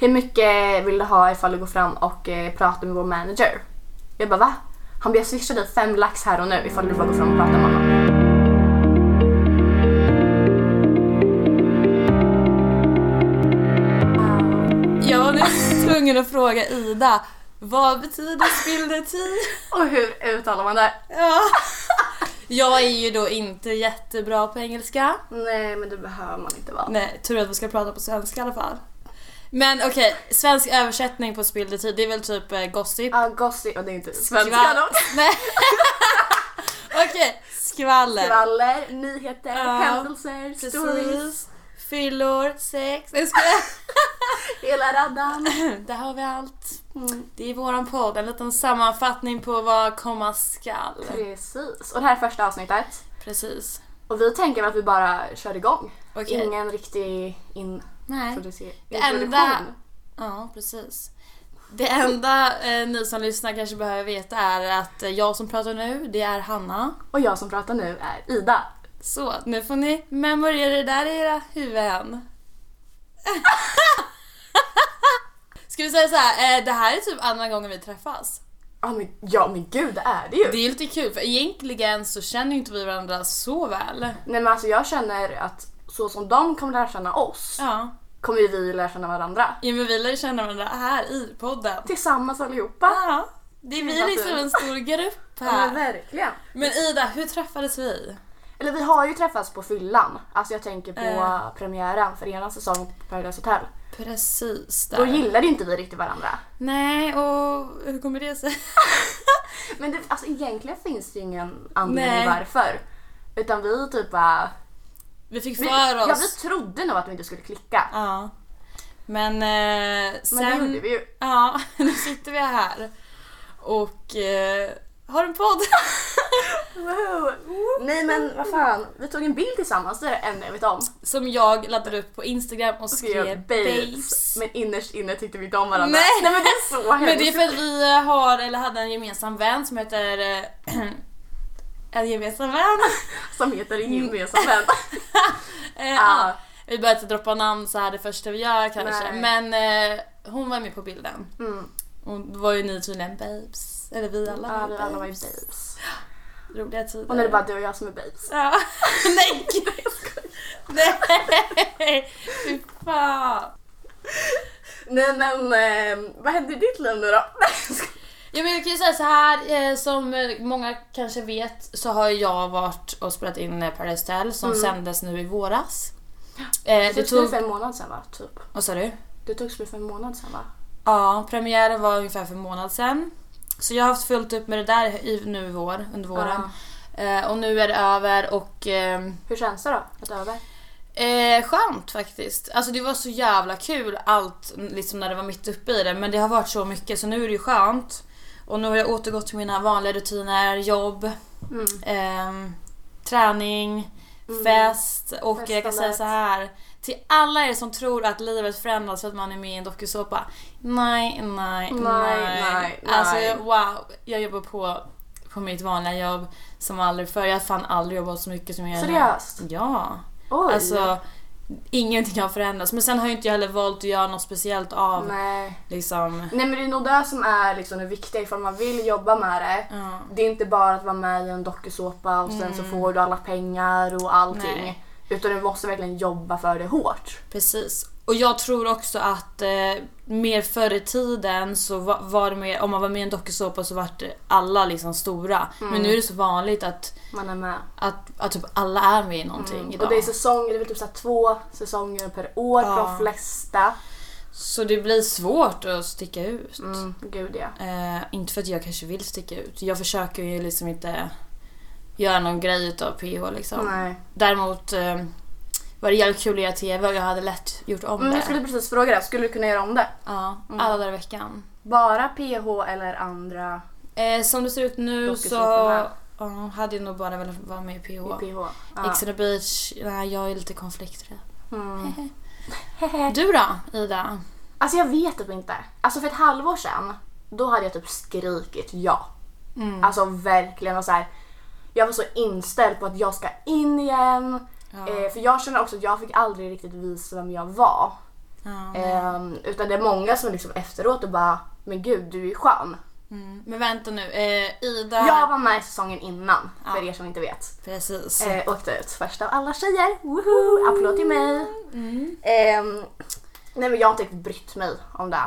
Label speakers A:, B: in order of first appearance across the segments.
A: hur mycket vill du ha ifall du går fram och eh, pratar med vår manager? Jag bara va? Han bara jag swishar dig fem lax här och nu ifall du bara går fram och pratar med honom.
B: Jag var nu tvungen att fråga Ida, vad betyder spillde tea?
A: Och hur uttalar man det?
B: Ja. Jag är ju då inte jättebra på engelska.
A: Nej men det behöver man inte vara.
B: Nej, tur att vi ska prata på svenska i alla fall. Men okej, svensk översättning på spillde tea, det är väl typ eh, gossip?
A: Ja, Ah, gossip, och det är inte svenska
B: Skvall-
A: då.
B: Nej. Okej, skvaller.
A: Skvaller, nyheter,
B: Ja,
A: händelser, stories,
B: Precis. Fyllor, sex. Jag skojar.
A: hela raddan.
B: Där har vi allt.
A: Mm.
B: Det är våran podd, en liten sammanfattning på vad komma skall.
A: Mm. Precis. Och det här är första avsnittet.
B: Precis.
A: Och vi tänker att vi bara kör igång.
B: Okej.
A: Ingen riktig in
B: Nej.
A: introduce-
B: Det enda, ja, precis. Det enda eh, ni som lyssnar kanske behöver veta är att eh, jag som pratar nu, det är Hanna.
A: Och jag som pratar nu är Ida.
B: Så nu får ni memorera det där i era huvuden. Ska vi säga så här, eh, det här är typ andra gången vi träffas.
A: Ja men, ja, men gud, det är det ju.
B: Det är ju lite kul för egentligen så känner ju inte vi varandra så väl.
A: Nej men alltså jag känner att så som de kommer lära känna oss
B: Ja.
A: kommer ju vi lära känna varandra.
B: Ja, men vi lär ju känna varandra här i podden.
A: Tillsammans allihopa.
B: Ja. Det är vi liksom en stor grupp
A: Ja, men
B: här.
A: verkligen.
B: Men Ida, hur träffades vi?
A: Eller vi har ju träffats på fyllan. Alltså jag tänker på
B: Eh.
A: premiären för ena säsongen på Paradise Hotel.
B: Precis där.
A: Då gillade ju inte vi riktigt varandra.
B: Nej, och hur kommer det sig?
A: Men det, alltså, egentligen finns det ju ingen anledning
B: Nej.
A: varför. Utan vi typ bara...
B: Vi fick
A: Vi,
B: för
A: ja, vi
B: oss.
A: trodde nog att vi inte skulle klicka.
B: Ja. Men eh, sen...
A: Men det gjorde vi ju.
B: Ja, nu sitter vi här. Och eh, har en podd.
A: Nej men vad fan, vi tog en bild tillsammans, det är det enda jag vet om.
B: Som jag laddade upp på Instagram och
A: Vi
B: skrev
A: skrev babes.
B: babes.
A: Men innerst inne tyckte vi inte om varandra.
B: Nej.
A: Nej men det är så
B: Men det är
A: hemskt.
B: för att vi eh, har, eller hade en gemensam vän som heter... eh, en gemensam vän.
A: Som heter
B: Mm.
A: en gemensam vän.
B: Eh,
A: Ja.
B: ja. Vi började inte droppa namn så här det första vi gör kanske.
A: Nej.
B: Men eh, hon var med på bilden.
A: Mm.
B: Och då var ju ni tydligen babes. Eller vi alla
A: Ja,
B: var
A: vi
B: ju
A: alla var ju
B: babes.
A: babes.
B: Roliga tider.
A: Och nu är det bara du och jag som är babes.
B: Ja. Nej! Nej! Fy fan.
A: Nej men eh, vad händer i ditt liv nu då?
B: Ja, men jag kan ju säga så här, eh, som eh, många kanske vet så har ju jag varit och spelat in eh, Paradise Hotel som
A: Mm.
B: sändes nu i våras. Eh, det
A: Du tog
B: tog...
A: för en månad sedan va? Typ.
B: Vad sa du?
A: Du tog slut för en månad sedan va?
B: Ja, premiären var ungefär för en månad sedan. Så jag har haft fullt upp med det där i, nu i vår, under våren. Eh, och nu är det över och ehm,
A: Hur känns det då? Att det är över?
B: Eh, skönt faktiskt. Alltså det var så jävla kul allt liksom när det var mitt uppe i det men det har varit så mycket så nu är det ju skönt. Och nu har jag återgått till mina vanliga rutiner, jobb,
A: Mm.
B: ehm, träning, fest och jag kan
A: Festandet.
B: säga så här till alla er som tror att livet förändras för att man är med i en dokusåpa. Nej, nej, nej.
A: nej, nej.
B: Alltså wow, jag jobbar på, på mitt vanliga jobb som aldrig förr. Jag har fan aldrig jobbat så mycket som jag gör nu.
A: Seriöst?
B: Ja.
A: Oj!
B: Alltså, ingenting har förändrats. Men sen har ju inte jag heller valt att göra något speciellt av
A: Nej.
B: liksom...
A: Nej men det är nog det som är liksom det viktiga ifall man vill jobba med det.
B: Ja.
A: Det är inte bara att vara med i en dokusåpa och sen så får du alla pengar och allting.
B: Mm. Nej.
A: Utan du måste verkligen jobba för det hårt.
B: Precis. Och jag tror också att eh, mer förr i tiden så var, var det mer, om man var med i en dokusåpa så var det alla liksom stora.
A: Mm.
B: Men nu är det så vanligt att,
A: Man är med.
B: att, att typ alla är med i någonting idag.
A: Mm. Och det är säsonger, det är väl typ så här två säsonger per år för
B: Ja.
A: de flesta.
B: Så det blir svårt att sticka ut.
A: Mm, gud ja.
B: Eh, inte för att jag kanske vill sticka ut. Jag försöker ju liksom inte göra någon grej utav PH liksom.
A: Nej.
B: Däremot eh, var det jävligt kul att göra TV och jag hade lätt gjort om
A: Mm,
B: det.
A: jag skulle precis fråga det, skulle du kunna göra om det?
B: Ja, alla dagar i veckan.
A: Bara PH eller andra
B: Eh, som det ser ut nu så
A: Dokusåporna.
B: ja, hade jag nog bara velat vara med i
A: i
B: PH.
A: PH? Ja.
B: Ex on the beach, nej jag är lite konflikträdd.
A: Mm. Eh.
B: Du då Ida?
A: Alltså jag vet typ inte. Alltså för ett halvår sedan, då hade jag typ skrikit ja.
B: Mm.
A: Alltså verkligen och så här. Jag var så inställd på att jag ska in igen.
B: Ja.
A: Eh, för jag känner också att jag fick aldrig riktigt visa vem jag var.
B: Ja.
A: Ehm, utan det är många som liksom efteråt och bara “men gud, du är ju skön”.
B: Mm. Men vänta nu, eh, Ida...
A: Jag var med i säsongen innan, för
B: Ja.
A: er som inte vet.
B: Precis.
A: Eh, åkte ut först av alla tjejer. Woohoo! Applåd till mig!
B: Mm.
A: Ehm, nej men jag har inte riktigt brytt mig om det.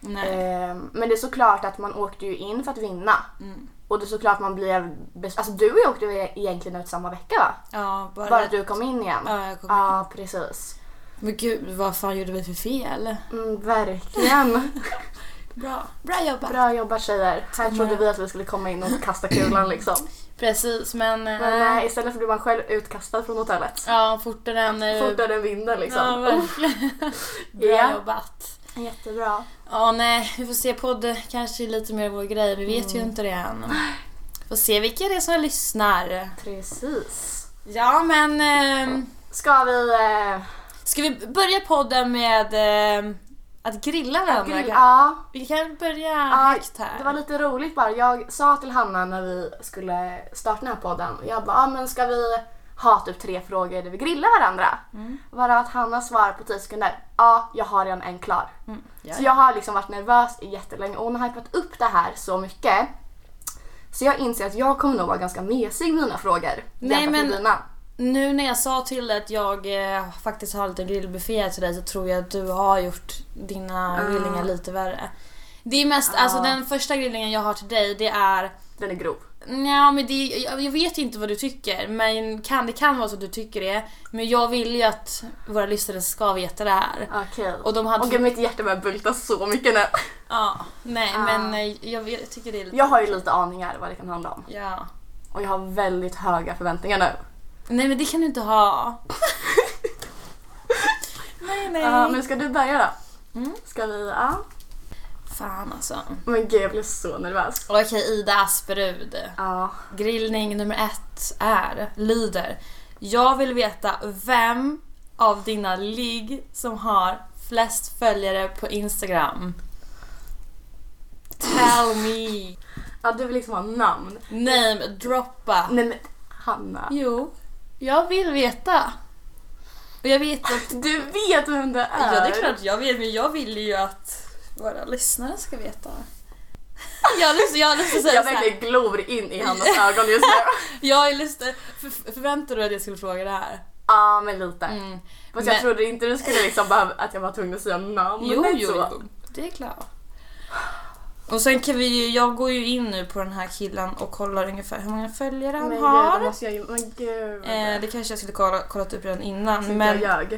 B: Nej.
A: Ehm, men det är såklart att man åkte ju in för att vinna.
B: Mm.
A: Och det är såklart man blev... bes- Alltså du och jag åkte ju egentligen ut samma vecka va?
B: Ja, bara...
A: Bara att du kom in igen.
B: Ja, jag kommer...
A: Ja, precis.
B: Men gud, vad fan gjorde vi för fel?
A: Mm, verkligen.
B: Bra. Bra jobbat.
A: Bra jobbat tjejer. Här trodde vi att vi skulle komma in och kasta kulan liksom.
B: Precis, men... eh,
A: Men nej, istället för blir man själv utkastad från hotellet.
B: Ja, fortare än... eh,
A: Alltså, Fortare än vinden
B: Ja,
A: liksom.
B: verkligen. Bra
A: Ja.
B: jobbat.
A: Jättebra.
B: Ja, nej, vi får se. Podd kanske är lite mer vår grej. Vi vet
A: Mm.
B: ju inte det än. Får se vilka det är som lyssnar.
A: Precis.
B: Ja, men... Eh,
A: Ska vi... Eh,
B: ska vi börja podden med eh, att grilla varandra?
A: grill- ja,
B: Vi kan börja
A: Ja,
B: högt här.
A: det var lite roligt bara. Jag sa till Hanna när vi skulle starta den här podden. Jag bara, ah, men ska vi ha typ tre frågor där vi grillar varandra? Mm. Bara att Hanna svarar på 10 sekunder. Ja, jag har redan en klar.
B: Mm, ja,
A: Så
B: ja.
A: jag har liksom varit nervös jättelänge och hon har hypat upp det här så mycket. Så jag inser att jag kommer nog vara ganska mesig i mina frågor.
B: Nej,
A: jämfört med
B: men-
A: dina.
B: Nu när jag sa till dig att jag eh, faktiskt har lite grillbuffé här till dig så tror jag att du har gjort dina
A: Ja.
B: grillningar lite värre. Det är mest, alltså
A: Ja.
B: den första grillningen jag har till dig det är
A: Den är grov.
B: Nja, men det, jag jag vet inte vad du tycker, men kan, det kan vara så att du tycker det. Men jag vill ju att våra lyssnare ska veta det här.
A: Okej.
B: Och de hade...
A: Och gud, mitt hjärta börjar bulta så mycket nu.
B: ja, nej,
A: Ah.
B: men eh, jag, jag tycker det är lite...
A: Jag har ju lite aningar vad det kan handla om.
B: Ja.
A: Och jag har väldigt höga förväntningar nu.
B: Nej, men det kan du inte ha. nej, nej.
A: Ja, men ska du börja då?
B: Mm.
A: Ska vi? Ja.
B: Fan alltså.
A: Men gud, jag blir så nervös.
B: Okej, Ida Asperud.
A: Ja.
B: Grillning nummer ett är, lyder. Jag vill veta vem av dina ligg som har flest följare på Instagram. Tell me.
A: ja, du vill liksom ha namn.
B: Name droppa.
A: Nej men Hanna.
B: Jo, jag vill veta. Och jag vet att...
A: Du vet vem det är!
B: Ja, det är klart jag vet, men jag vill ju att våra lyssnare ska veta. Jag har lust, jag har lust att säga
A: Jag
B: så här.
A: verkligen glor in i Hannas ögon just nu.
B: Jag har lust, för, förväntade du dig att jag skulle fråga det här?
A: Ja, men lite.
B: Mm.
A: Fast jag
B: Men-
A: trodde inte du skulle liksom behöva att jag var tvungen att säga namn.
B: Jo,
A: men
B: jo,
A: så.
B: jo, det är klart. Och sen kan vi ju, jag går ju in nu på den här killen och kollar ungefär hur många följare han
A: Men gud,
B: har.
A: då måste jag ju... Men gud.
B: eh, det kanske jag skulle kolla, kollat upp redan
A: Så
B: innan.
A: inte jag
B: Men
A: ljög.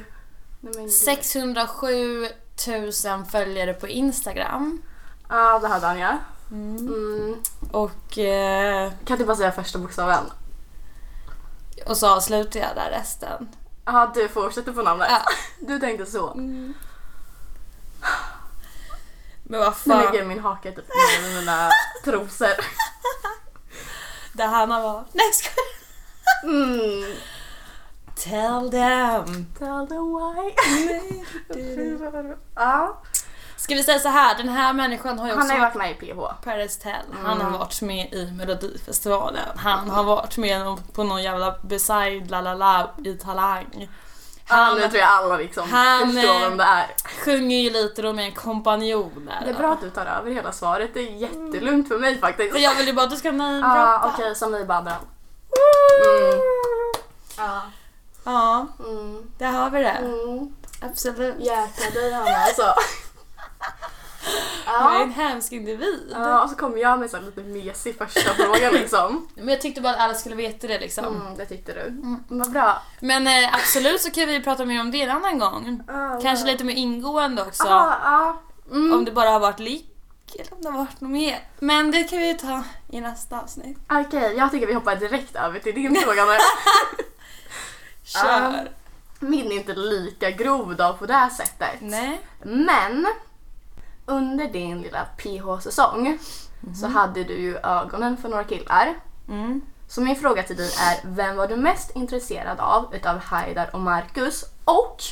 A: Nej, men gud.
B: 607 000 följare på Instagram.
A: Ja, det hade han ja. Mm.
B: Och, eh,
A: Kan du bara säga första bokstaven?
B: och så avslutar jag där resten.
A: Ja, du fortsätter på namnet.
B: Ja.
A: Du tänkte så.
B: Men vad
A: Nu ligger
B: fan,
A: min haka typ i mina trosor.
B: det här var... Nej jag skojar.
A: Mm.
B: Tell them!
A: Tell the why. ja.
B: Ska vi säga så här, den här människan har ju också
A: Han har ju varit med i PH.
B: Paradise Tell, han har varit med i Melodifestivalen. Han har varit med någon- på någon jävla Beside La La La i Talang.
A: Han,
B: Han
A: nu tror jag alla liksom
B: han,
A: förstår
B: eh,
A: vem det är.
B: sjunger ju lite då med en kompanjon där.
A: Det är bra att du tar över hela svaret. Det är jättelugnt för mig faktiskt.
B: För jag vill ju bara att du ska namedroppa.
A: Ja, okej, som vi bara brann. Mm. Ja.
B: Ja,
A: Mm.
B: där har vi det.
A: Mm.
B: Absolut.
A: Jäklar dig Hanna alltså.
B: Du är
A: Ja.
B: en hemsk individ.
A: ja, och så kommer jag med så här lite mesig första fråga liksom.
B: Men jag tyckte bara att alla skulle veta det liksom.
A: Mm, det tyckte du. Vad bra.
B: Men eh, absolut så kan vi prata mer om det en annan gång. Kanske lite mer ingående också.
A: Ja, ja.
B: Om
A: Mm.
B: det bara har varit lik eller om det har varit något mer. Men det kan vi ju ta i nästa avsnitt.
A: Okej, jag tycker vi hoppar direkt över till din fråga nu.
B: Kör!
A: Min är inte lika grov då på det här sättet.
B: Nej.
A: Men under din lilla PH-säsong så hade du ju ögonen för några killar.
B: Mm.
A: Så min fråga till dig är, vem var du mest intresserad av utav Haidar och Marcus? Och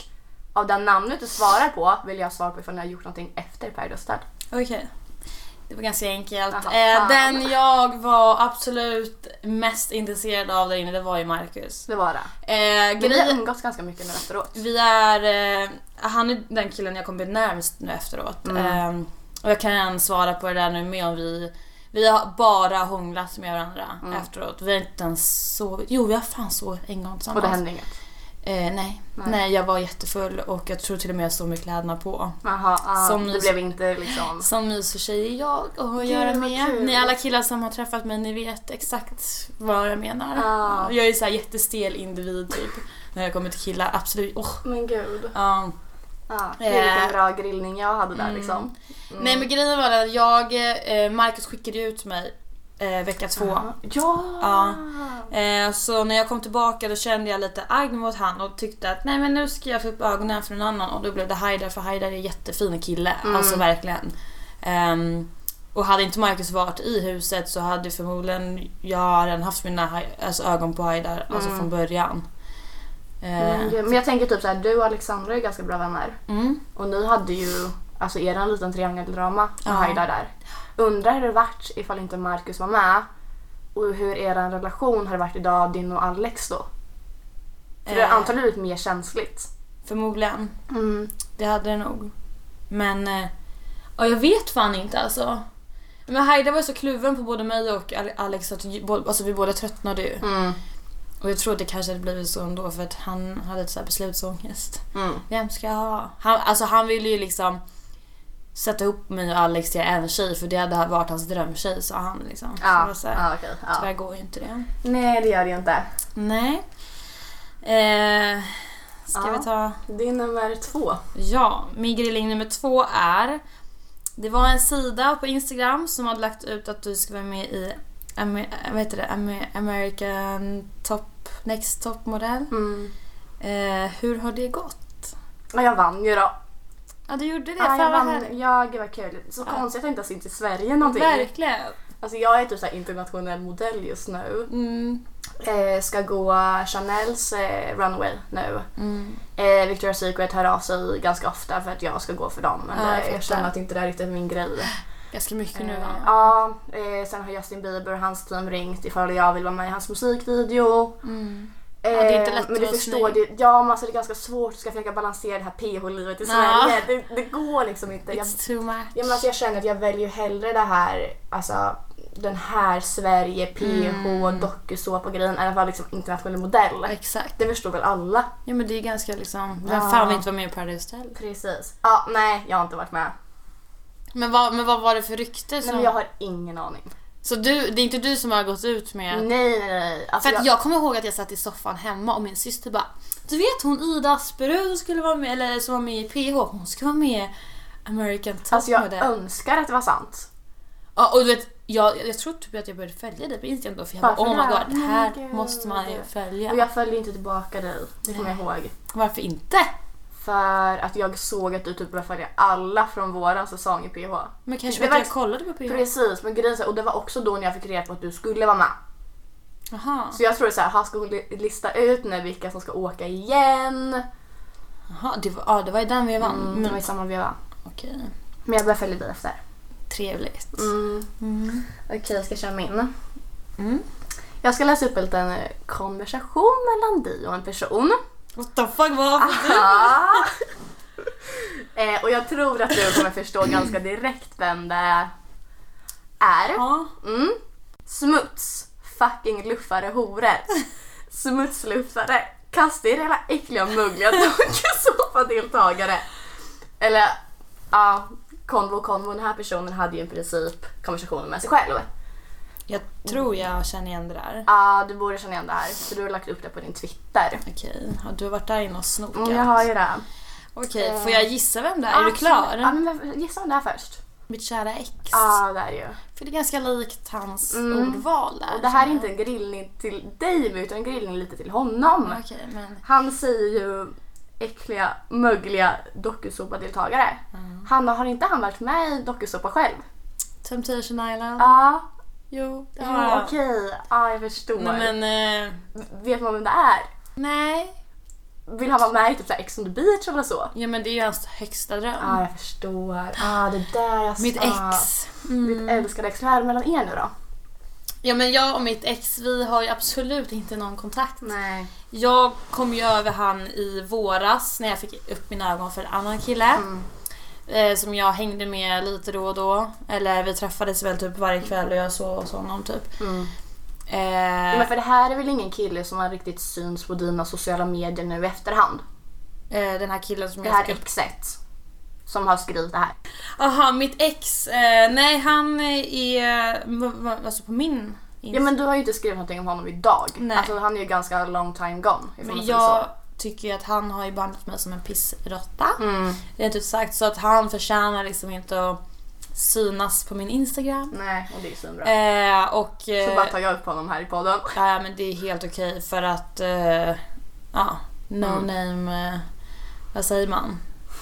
A: av det namnet du svarar på vill jag svara på ifall ni har gjort någonting efter Paradise Hotel.
B: Okej. Det var ganska enkelt.
A: Jaha,
B: eh,
A: fan.
B: den jag var absolut mest intresserad av där inne, det var ju Marcus.
A: Det var det.
B: Eh,
A: Men vi har
B: grejen,
A: umgåtts ganska mycket nu efteråt.
B: vi är... Eh, han är den killen jag kommer bli närmst nu efteråt. Eh, och jag kan svara på det där nu med om vi... Vi har bara hånglat med varandra efteråt. Vi har inte ens sovit. Jo, vi har fan sovit en gång
A: Och det
B: tillsammans.
A: hände inget.
B: Eh, nej. nej. jag var jättefull och jag tror till och med jag stod med kläderna på.
A: Jaha, ah,
B: Som
A: det
B: ni-
A: blev inte liksom...
B: Som myser är jag och att
A: Gud,
B: göra
A: vad
B: med.
A: kul.
B: Ni alla killar som har träffat mig, ni vet exakt vad jag menar.
A: Ja.
B: Jag är så här jättestel individ typ. När jag kommer till killar, absolut. Oh.
A: Men gud.
B: Ja.
A: Ah, gud, vilken
B: Eh. mm.
A: bra grillning jag hade där liksom.
B: Nej men grejen var att jag, eh, Marcus skickade ju ut mig eh, vecka två.
A: Ja!
B: Ja. Eh, så när jag kom tillbaka då kände jag lite agg mot han och tyckte att nej men nu ska jag få upp ögonen för en annan och då blev det Haidar för Haidar är en jättefin kille. Alltså verkligen. Ehm, och hade inte Marcus varit i huset så hade förmodligen jag redan haft mina Hai- alltså, ögon på Haidar alltså från början. Eh,
A: Men gud, Men jag tänker typ såhär, du och Alexandra är ganska bra vänner.
B: mm.
A: Och ni hade ju alltså eran liten triangeldrama
B: Ja.
A: med Haidar där. Undrar hur det varit ifall inte Marcus var med och hur eran relation hade varit idag, din och Alex då? För det är
B: Eh.
A: antagligen mer känsligt.
B: Förmodligen.
A: Mm.
B: Det hade det nog. Men eh, ja, jag vet fan inte alltså. Men Haida var ju så kluven på både mig och Ale- Alex att ju- bo- alltså, vi båda tröttnade ju.
A: Mm.
B: Och jag tror att det kanske hade blivit så ändå för att han hade ett så här beslutsångest.
A: Mm.
B: Vem ska jag ha? Han, alltså han ville ju liksom sätta ihop mig och Alex till en tjej för det hade varit hans drömtjej sa han liksom. Så jag
A: Ja,
B: var så här,
A: ja okej.
B: Tyvärr
A: Ja.
B: går ju inte det.
A: Nej det gör det ju inte.
B: Nej. Eh, ska
A: Ja.
B: vi ta...
A: Det är nummer två.
B: Ja, min grilling nummer två är... Det var en sida på Instagram som hade lagt ut att du ska vara med i Amer- vad heter det? Amer- American Top Next Top Modell.
A: Mm.
B: Eh, hur har det gått?
A: Ja, jag vann ju då.
B: Ja, du gjorde det.
A: Ja, Ah, jag
B: Fan vad
A: vann.
B: härligt.
A: Ja, gud vad kul. Så konstigt att jag inte har synts i Sverige någonting.
B: Verkligen.
A: Alltså jag är typ så här internationell modell just nu.
B: Mm.
A: Eh, ska gå Chanels eh, runway nu.
B: Mm.
A: Eh, Victoria's Secret hör av sig ganska ofta för att jag ska gå för dem. Men
B: Ja, jag
A: det- jag,
B: fattar.
A: känner att inte det är riktigt min grej.
B: Ganska mycket nu
A: Eh,
B: va?
A: ja, eh, sen har Justin Bieber och hans team ringt ifall jag vill vara med i hans musikvideo.
B: Mm.
A: Eh,
B: det är inte lätt
A: men
B: att
A: du
B: vara
A: förstår, det,
B: snygg.
A: ja, men alltså, det är ganska svårt att ska försöka balansera det här PH-livet i
B: Ja.
A: Sverige. Det, det går liksom inte. Jag,
B: It's too much.
A: Ja, men alltså jag känner att jag väljer hellre det här, alltså den här Sverige, PH,
B: Mm.
A: dokusåpa grejen än att vara liksom internationell modell.
B: Exakt.
A: Det förstår väl alla?
B: Ja men det är ganska liksom, vem
A: Ja.
B: fan vill inte vara med i Paradise Hotel?
A: Precis. Ja, nej, jag har inte varit med.
B: Men vad, men vad var det för rykte
A: Nej,
B: som...
A: men jag har ingen aning.
B: Så du, det är inte du som har gått ut med...
A: Nej, nej, nej. Alltså,
B: För att jag kommer ihåg att jag satt i soffan hemma och min syster bara Du vet hon Ida Asperud som skulle vara med, eller som var med i PH, hon ska vara med i American Top
A: alltså, jag
B: Model.
A: önskar att det var sant.
B: Ja, och du vet, jag, jag tror typ att jag började följa dig på Instagram då för jag bara
A: Varför
B: oh my
A: det?
B: god, det här
A: Nej, gud.
B: måste man ju följa.
A: Och jag följer inte tillbaka dig, det kommer jag ihåg.
B: Varför inte?
A: För att jag såg att du typ började följa alla från våran säsong i PH.
B: Men kanske
A: Det
B: för att
A: var-
B: jag kollade på PH?
A: Precis, men grejen är så här- och det var också då när jag fick reda på att du skulle vara med.
B: Jaha.
A: Så jag tror så här, han ska hon li- lista ut nu vilka som ska åka igen.
B: Jaha, det var, ja, det var ju den vi vann.
A: Mm, det var
B: Men,
A: i samma veva.
B: okej,
A: Men jag börjar följa dig efter.
B: trevligt.
A: Mm.
B: Mm.
A: Okej, jag ska köra min.
B: Mm.
A: Jag ska läsa upp en liten eh, konversation mellan dig och en person.
B: What the fuck
A: Ah.
B: vad?
A: eh, och jag tror att du kommer förstå ganska direkt vem det är.
B: Ja.
A: Mm. Smuts. Fucking luffare horor. Smutsluffare. Kasta er hela äckliga och mögliga dokusåpadeltagare. Eller ja, konvo konvo. Den här personen hade ju i princip konversationen med sig själv.
B: Jag tror jag känner igen det där.
A: Ja, du borde känna igen det här för du har lagt upp det på din Twitter.
B: Okej, ja, du har varit där inne och snokat.
A: Mm, jag har ju det.
B: Okej,
A: Eh. ah,
B: får jag gissa vem det är? Är du
A: Ja,
B: klar?
A: men varför- gissa vem det är först.
B: Mitt kära ex.
A: Ja, det är det ju.
B: För det är ganska likt hans
A: Ah. Mm.
B: ordval där.
A: Och det här är inte en grillning till dig utan en grillning lite till honom.
B: Okej, men...
A: Han säger ju äckliga, mögliga dokusåpadeltagare. Hanna, har inte han varit med i dokusåpa själv?
B: Temptation Island.
A: Ja,
B: Jo, det
A: ja,
B: har jag.
A: okej. Ja, jag förstår.
B: Nej men... Eh,
A: Vet man vem det är?
B: nej.
A: vill han vara med i typ så här Ex on the beach eller så?
B: Ja men det är ju hans högsta dröm.
A: Ja, ah, jag förstår. Ah, det där jag
B: Mitt
A: ah,
B: ex. Mm.
A: Mitt älskade ex. Hur är det mellan er nu då?
B: Ja men jag och mitt ex vi har ju absolut inte någon kontakt.
A: Nej.
B: Jag kom ju över han i våras när jag fick upp mina ögon för en annan kille.
A: Mm.
B: Eh, som jag hängde med lite då och då. Eller vi träffades väl typ varje kväll och jag sov hos honom typ.
A: Äh.
B: Eh,
A: Mm. Men för det här är väl ingen kille som har riktigt syns på dina sociala medier nu i efterhand?
B: eh, den här killen som
A: Det
B: jag
A: här
B: fick upp.
A: exet som har skrivit det här.
B: Aha, mitt ex. Eh, nej han är... va- va- Alltså på min
A: Ja men du har ju inte skrivit någonting om honom idag.
B: Nej.
A: Alltså han är ju ganska long time gone. ifall man
B: Men
A: säger
B: jag
A: så.
B: tycker ju att han har ju behandlat mig som en pissrotta.
A: Mm.
B: Rent ut sagt. Så att han förtjänar liksom inte att synas på min Instagram.
A: Nej, och det är ju svinbra.
B: Eh, och... eh,
A: Så bara tar jag upp honom här i podden.
B: Ja men det är helt okej för att... eh, ja, no
A: Mm.
B: name... eh, vad säger man?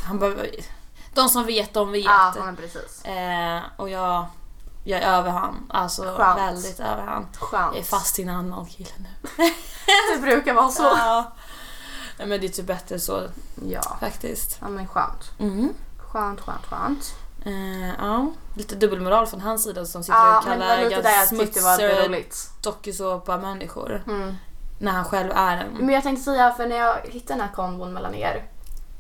B: Han behöver... De som vet, de vet.
A: Ja, men precis.
B: Eh, och jag... Jag är över han. Alltså
A: Skönt.
B: väldigt över han.
A: Skönt.
B: Jag är fast i en annan kille nu.
A: Det brukar vara så.
B: Ja. Nej, men det är typ bättre så
A: Ja.
B: faktiskt.
A: ja, men skönt.
B: Mm.
A: Skönt, skönt, skönt.
B: Eh, ja. Lite dubbelmoral från hans sida som sitter
A: Ja,
B: och
A: men det var
B: kallar
A: lite det
B: Edgar
A: jag tyckte var lite
B: smutser
A: roligt.
B: dokusåpa-människor.
A: Mm.
B: När han själv är en.
A: Men jag tänkte säga, för när jag hittade den här konvon mellan er.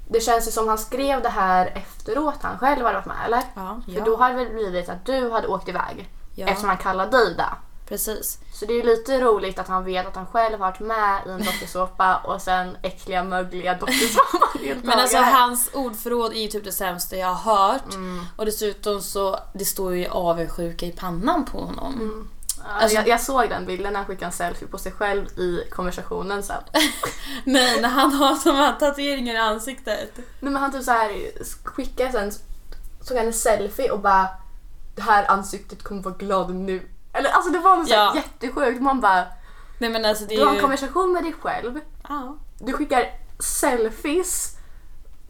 A: Det känns ju som han skrev det här efteråt han själv hade varit med, eller?
B: Ja,
A: För
B: ja,
A: då hade det väl blivit att du hade åkt iväg eftersom
B: ja
A: han kallade dig det.
B: precis.
A: Så det är ju lite roligt att han vet att han själv har varit med i en dokusåpa och sen äckliga mögliga dokusåpadeltagare.
B: Men alltså hans ordförråd är ju typ det sämsta jag har hört.
A: Mm.
B: Och dessutom så, det står ju avundsjuka i pannan på honom.
A: Mm. Ja,
B: alltså-
A: jag, jag såg den bilden när han skickade en selfie på sig själv i konversationen sen.
B: Nej, när han har de här tatueringarna i ansiktet.
A: Nej men han typ så här skickade sen, såg han en selfie och bara det här ansiktet kommer vara glad nu. Eller alltså det var något så här
B: Ja.
A: jättesjukt. Man bara,
B: Nej men alltså det
A: du har
B: är
A: en
B: ju...
A: konversation med dig själv,
B: Ja.
A: du skickar selfies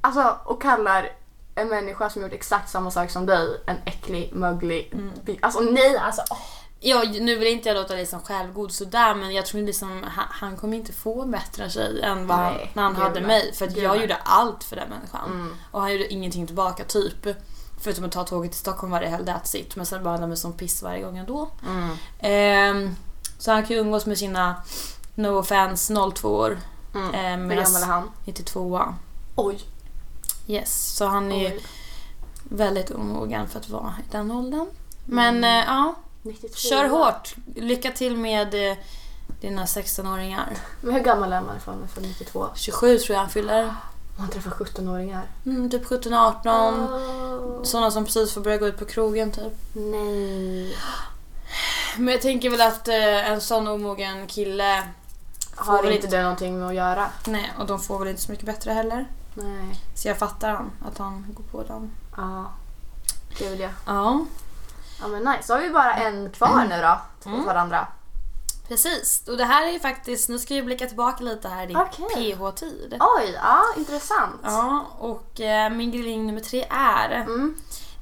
A: alltså, och kallar en människa som gjort exakt samma sak som dig en äcklig, möglig...
B: Mm.
A: bi- Alltså nej alltså! åh.
B: Ja, nu vill inte jag låta dig som självgod sådär men jag tror liksom han, han kommer inte få bättre än sig än vad han,
A: Nej,
B: när han
A: gud
B: hade
A: nej.
B: mig. För att
A: Gud
B: jag
A: nej. Mm.
B: gjorde allt för den människan. Och han gjorde ingenting tillbaka typ. Förutom att ta tåget till Stockholm varje helg, that's it. Men sen behandlade han mig som piss varje gång ändå. Ehm, så han kan ju umgås med sina no offense 02 år.
A: Mm.
B: Ehm,
A: Hur
B: medan
A: gammal är han?
B: 92
A: Oj!
B: Yes, så han är ju
A: oj.
B: väldigt omogen för att vara i den åldern.
A: Mm.
B: Men eh, ja,
A: 92.
B: Kör hårt! Lycka till med eh, dina 16-åringar.
A: Men hur gammal är man ifall man är född 92?
B: 27 tror jag han fyller.
A: Man träffar 17-åringar.
B: Mm, typ 17-18.
A: Åh,
B: Sådana som precis får börja gå ut på krogen typ.
A: Nej.
B: Men jag tänker väl att eh, en sån omogen kille,
A: Har
B: väl
A: inte
B: inte-
A: det någonting med att göra?
B: nej, och de får väl inte så mycket bättre heller.
A: Nej.
B: Så jag fattar han, att han går på dem.
A: Ja. Det är väl det.
B: Ja,
A: Ja men nice. Så har vi bara en
B: Mm.
A: kvar nu då. Åt varandra.
B: precis. Och det här är ju faktiskt, nu ska jag blicka tillbaka lite här i din
A: Okej.
B: PH-tid.
A: Oj, ja intressant.
B: Ja, och eh, min grilling nummer tre är
A: Mm.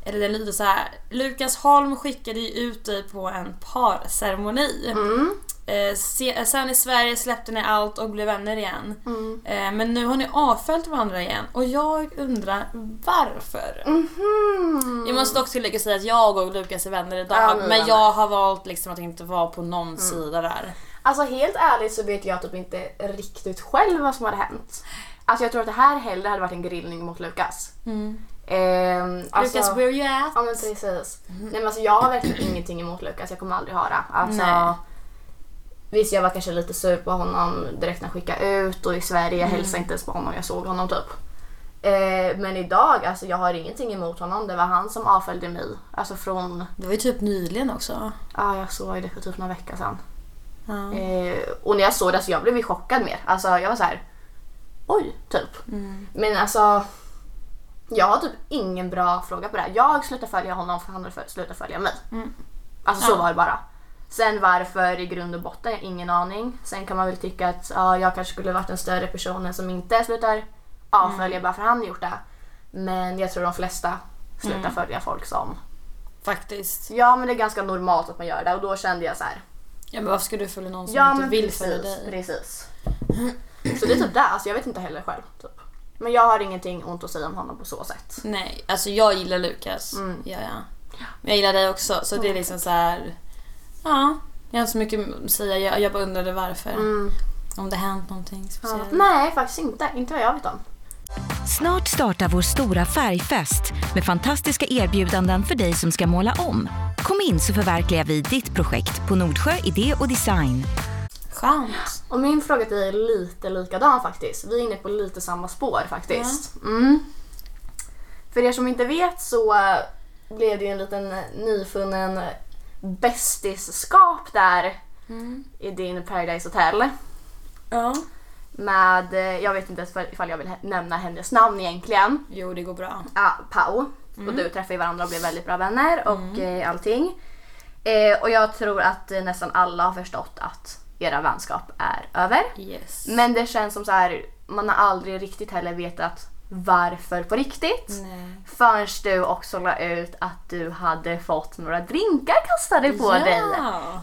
B: Eller den lyder så här. Lukas Holm skickade ju ut dig på en parceremoni.
A: Mm.
B: Eh, se- sen i Sverige släppte ni allt och blev vänner igen.
A: Mm.
B: Eh, men nu har ni avföljt varandra igen och jag undrar varför?
A: Mhm.
B: Jag måste dock tillägga och säga att jag och Lukas är vänner idag
A: Ja, ni är
B: men
A: vänner. Mm.
B: jag har valt liksom att inte vara på någon sida där.
A: Alltså helt ärligt så vet jag typ inte riktigt själv vad som hade hänt. Alltså jag tror att det här hellre hade varit en grillning mot Lukas. Ehm, alltså,
B: Mm. Lukas, Mm-hmm. where you at?
A: Ja men precis. Nej men alltså jag har verkligen ingenting emot Lukas, jag kommer aldrig ha det. Alltså,
B: Nej.
A: visst jag var kanske lite sur på honom direkt när jag skickade ut och i Sverige
B: Mm.
A: jag hälsade inte ens på honom, jag såg honom typ. Eh, men idag, alltså jag har ingenting emot honom. Det var han som avföljde mig. Alltså från,
B: Det var ju typ nyligen också.
A: ja jag såg det för typ några veckor sedan.
B: Ja.
A: Eh, och när jag såg det så jag blev ju chockad mer. Alltså jag var så här. oj, typ. Men alltså, jag har typ ingen bra fråga på det här. Jag slutade följa honom för han för- slutade följa mig.
B: Mm.
A: Alltså så
B: Ja.
A: var det bara. Sen varför i grund och botten, jag har ingen aning. Sen kan man väl tycka att ja, jag kanske skulle varit en större person än som inte slutar avfölja bara för han gjort det. Men jag tror de flesta slutar följa folk som...
B: Faktiskt.
A: Ja men det är ganska normalt att man gör det och då kände jag så här.
B: Ja men varför ska du följa någon som
A: Ja
B: inte
A: men
B: vill
A: precis,
B: följa dig?
A: precis. Så det är typ det. Alltså jag vet inte heller själv. Typ. Men jag har ingenting ont att säga om honom på så sätt.
B: Nej, alltså jag gillar Lukas.
A: Mm.
B: Ja, ja. Men jag gillar dig också. Så det är liksom så här. Ja, jag har inte så mycket att säga. Jag, jag bara undrade varför.
A: Mm.
B: Om det hänt någonting
A: Ja.
B: speciellt.
A: Nej, faktiskt inte. Inte vad jag vet om.
C: Snart startar vår stora färgfest med fantastiska erbjudanden för dig som ska måla om. Kom in så förverkligar vi ditt projekt på Nordsjö Idé och Design.
B: Skönt.
A: Och min fråga till dig är lite likadan faktiskt. Vi är inne på lite samma spår faktiskt. Mm. För er som inte vet så eh, blev det ju en liten eh, nyfunnen bästisskap där
B: Mm.
A: i din Paradise Hotel.
B: Ja. Med...
A: Eh, Jag vet inte ens ifall jag vill he- nämna hennes namn egentligen.
B: Jo, det går bra.
A: ja, Pau.
B: Mm.
A: Och du träffade ju varandra och blev väldigt bra vänner och eh, allting. Eh, och jag tror att eh, nästan alla har förstått att era vänskap är över.
B: Yes.
A: Men det känns som så här, man har aldrig riktigt heller vetat varför på riktigt.
B: Nej.
A: Förrän du också la ut att du hade fått några drinkar kastade på
B: Ja.
A: dig.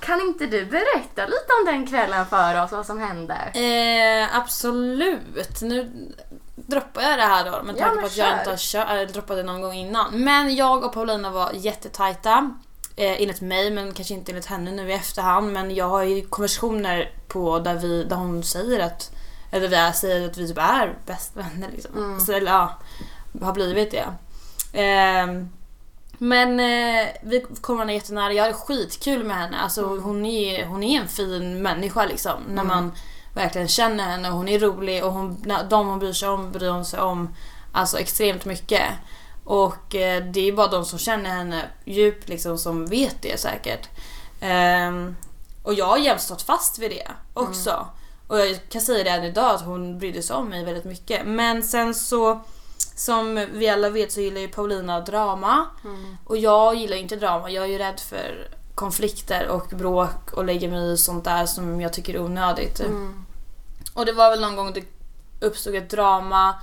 A: Kan inte du berätta lite om den kvällen för oss, vad som hände?
B: Eh, absolut. Nu droppar jag det här då med
A: Ja,
B: tanke
A: men
B: på att jag
A: kör.
B: inte har kö- äh, droppat det någon gång innan. Men jag och Paulina var jättetajta. Eh, enligt mig, men kanske inte enligt henne nu i efterhand. Men jag har ju konversationer på där, vi, där hon säger att, eller vi säger att vi typ är bästa vänner liksom.
A: Mm.
B: Så, eller, ja, har blivit det. Ehm, men eh, vi kom varandra jättenära. Jag hade skitkul med henne. Alltså, hon, är, hon är en fin människa liksom. När man verkligen känner henne. Hon är rolig och hon, när- de hon bryr sig om bryr hon sig om alltså, extremt mycket. Och eh, det är bara de som känner henne djupt liksom, som vet det säkert. Ehm, och jag har jämt stått fast vid det också. Och jag kan säga det än idag att hon brydde sig om mig väldigt mycket. Men sen så som vi alla vet så gillar ju Paulina drama. Och jag gillar ju inte drama. Jag är ju rädd för konflikter och bråk och lägger mig i sånt där som jag tycker är onödigt. Och det var väl någon gång det uppstod ett drama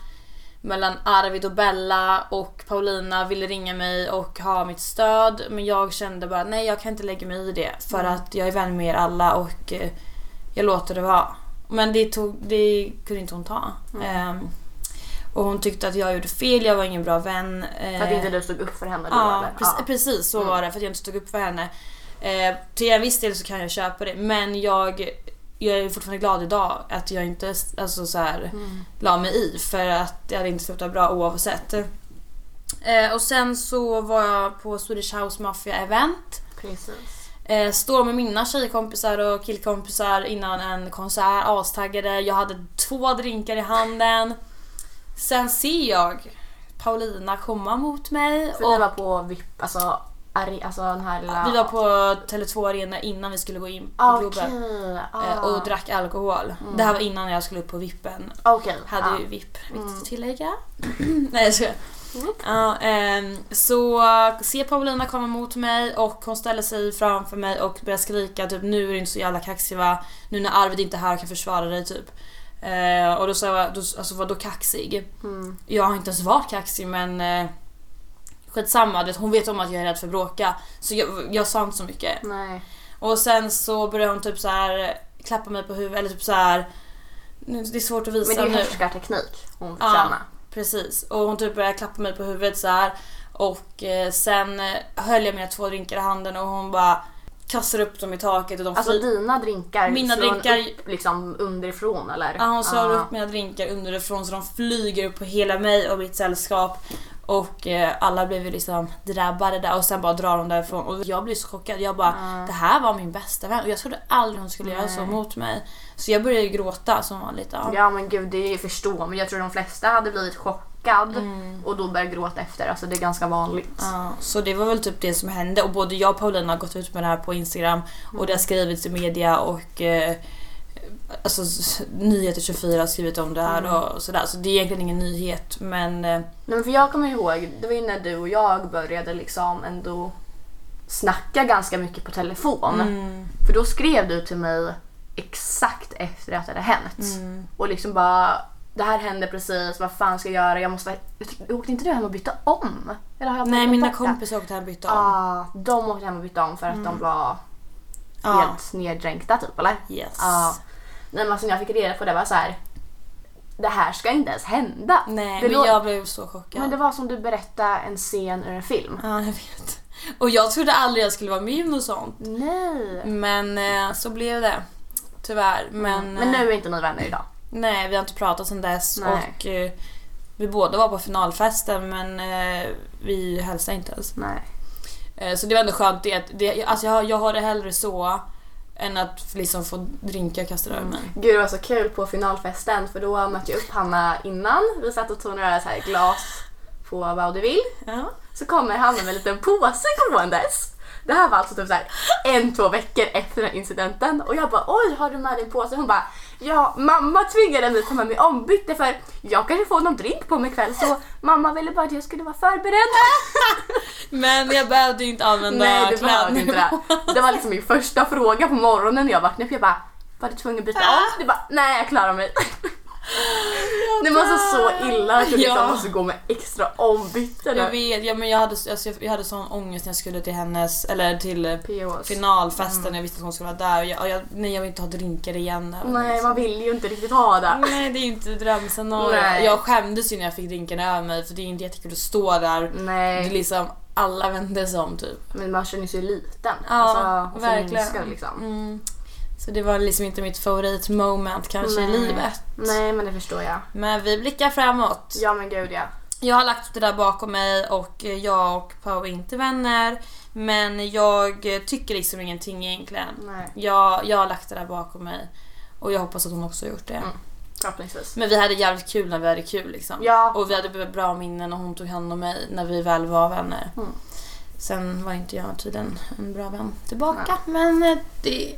B: mellan Arvid och Bella och Paulina ville ringa mig och ha mitt stöd men jag kände bara nej jag kan inte lägga mig i det för
A: Mm.
B: att jag är vän med er alla och eh, jag låter det vara. Men det, tog, det kunde inte hon ta.
A: Mm.
B: Ehm, och hon tyckte att jag gjorde fel, jag var ingen bra vän.
A: För att
B: eh,
A: inte du stod upp för henne då
B: Ja,
A: eller?
B: precis, precis så var det för att jag inte stod upp för henne. Eh, till en viss del så kan jag köpa det men jag, jag är fortfarande glad idag att jag inte alltså, så här, la mig i för att det hade inte slutat bra oavsett. Eh, och sen så var jag på Swedish House Mafia event.
A: precis.
B: Eh, står med mina tjejkompisar och killkompisar innan en konsert, astaggade. Jag hade två drinkar i handen. Sen ser jag Paulina komma mot mig.
A: För vi var på VIP, alltså, arg, alltså den här lilla...
B: Vi var på Tele2 Arena innan vi skulle gå in på
A: Ah,
B: Globen
A: Okej. Mm.
B: eh,
A: Ah.
B: och drack alkohol. Det här var innan jag skulle upp på vippen.
A: Okej. ah.
B: Hade
A: ja. Mm.
B: ju vipp, viktigt att tillägga. Nej jag skojar. Ja, ehm, så ser Paulina komma mot mig och hon ställer sig framför mig och börjar skrika typ nu är du inte så jävla kaxig va? Nu när Arvid inte är här och kan försvara dig typ. Eh, och då sa jag, då, alltså vadå kaxig?
A: Mm.
B: Jag har inte ens varit kaxig men eh, skitsamma, du vet, hon vet om att jag är rädd för att bråka. Så jag, jag sa inte så mycket.
A: Nej.
B: Och sen så började hon typ så här klappa mig på huvudet eller typ så här. Nu, det är svårt att visa
A: Men det är ju
B: nu.
A: härskarteknik hon fick
B: Ja.
A: träna.
B: Precis. Och hon typ började klappa mig på huvudet så här. Och eh, sen eh, höll jag mina två drinkar i handen och hon bara kastar upp dem i taket och de
A: Alltså
B: flyger.
A: dina drinkar
B: Mina
A: slår hon
B: drinkar-
A: upp liksom underifrån eller?
B: Ja, hon slår
A: Ah.
B: upp mina drinkar underifrån så de flyger upp på hela mig och mitt sällskap. Och eh, alla blev ju liksom drabbade där och sen bara drar hon därifrån. Och jag blev så chockad. Jag bara, det här var min bästa vän. Och jag trodde aldrig hon skulle göra så
A: Ah. Nej.
B: mot mig. Så jag började ju gråta som vanligt. Ja.
A: Ja men gud det är ju förstå men jag tror de flesta hade blivit chockad och då började gråta efter. Alltså det är ganska vanligt.
B: Mm. Ja, så det var väl typ det som hände och både jag och Paulina har gått ut med det här på Instagram och
A: Mm.
B: det har skrivits i media och eh, alltså, s- Nyheter 24 har skrivit om det här
A: Mm.
B: och sådär. Så det är egentligen ingen nyhet men eh,
A: Nej, men för jag kommer ihåg, det var ju när du och jag började liksom ändå snacka ganska mycket på telefon.
B: Mm.
A: För då skrev du till mig exakt efter att det hade hänt.
B: Mm.
A: Och liksom bara, det här hände precis, vad fan ska jag göra? Jag måste... Jag tyck- åkte inte du hem och bytte om? Eller har jag
B: nej
A: glömt
B: mina
A: bort det?
B: kompisar åkte hem och bytte om.
A: Ah, de åkte hem och bytte om för att de var
B: Ja.
A: helt neddränkta typ eller?
B: Yes.
A: Ja. Nej men alltså när jag fick reda på det var så här. det här ska inte ens hända.
B: Nej,
A: det
B: men
A: lå-
B: jag blev så chockad.
A: men det var som du berättade en scen ur en film.
B: Ja, jag vet. Och jag trodde aldrig jag skulle vara med i något sånt.
A: Nej.
B: Men eh, så blev det. Tyvärr. Men,
A: Mm. Men
B: eh,
A: nu är inte ni vänner idag.
B: Nej, vi har inte pratat sedan dess.
A: Nej.
B: Och eh, vi båda var på finalfesten men eh, vi hälsade inte ens.
A: Nej.
B: Eh, så det var ändå skönt. Det, att det, alltså jag, har- jag har det hellre så än att liksom få drinkar kastade över mig.
A: Gud det var så kul på finalfesten för då mötte jag upp Hanna innan. Vi satt och tog några så här glas på vaudeville.
B: Ja.
A: Så kommer Hanna med en liten påse gåendes. Det här var alltså typ så här en, två veckor efter den här incidenten och jag bara oj har du med din påse? Hon bara ja mamma tvingade mig att ta med mig ombyte för jag kanske får någon drink på mig ikväll så mamma ville bara att jag skulle vara förberedd.
B: Men jag behövde ju inte använda
A: Nej du behövde inte
B: klädnivå.
A: det. Det var liksom min första fråga på morgonen när jag vaknade upp. Jag bara var du tvungen att byta om? Du bara nej jag klarar mig. Nej men alltså så illa att du liksom
B: Ja.
A: måste gå med extra ombyte
B: Jag
A: nu.
B: vet, ja, men jag hade, alltså, jag- jag hade sån ångest när jag skulle till hennes, eller till eh,
A: POS.
B: finalfesten.
A: Mm.
B: Jag visste att hon skulle vara där. Och jag, och jag, nej jag vill inte ha drinkar igen. där.
A: Nej man vill ju inte riktigt ha det.
B: Nej det är ju inte drömscenario.
A: Nej.
B: Jag skämdes ju när jag fick drinkarna över mig för det är ju inte jättekul att stå där. Det är
A: Nej,
B: liksom alla vände sig om typ.
A: men man känner sig liten.
B: Ja,
A: alltså, och så
B: verkligen.
A: minskad, liksom.
B: Mm. Så det var liksom inte mitt favoritmoment kanske i
A: Nej.
B: livet.
A: Nej, men det förstår jag.
B: Men vi blickar framåt.
A: Ja, men gud ja.
B: Jag har lagt det där bakom mig och eh, jag och Pau är inte vänner. Men jag eh, tycker liksom ingenting egentligen.
A: Nej,
B: Jag, jag har lagt det där bakom mig. Och jag hoppas att hon också har gjort det.
A: Mm. förhoppningsvis.
B: Men vi hade jävligt kul när vi hade kul liksom.
A: Ja.
B: Och vi hade bra minnen och hon tog hand om mig när vi väl var vänner.
A: Mm.
B: Sen var inte jag tydligen en bra vän tillbaka. Men eh, det,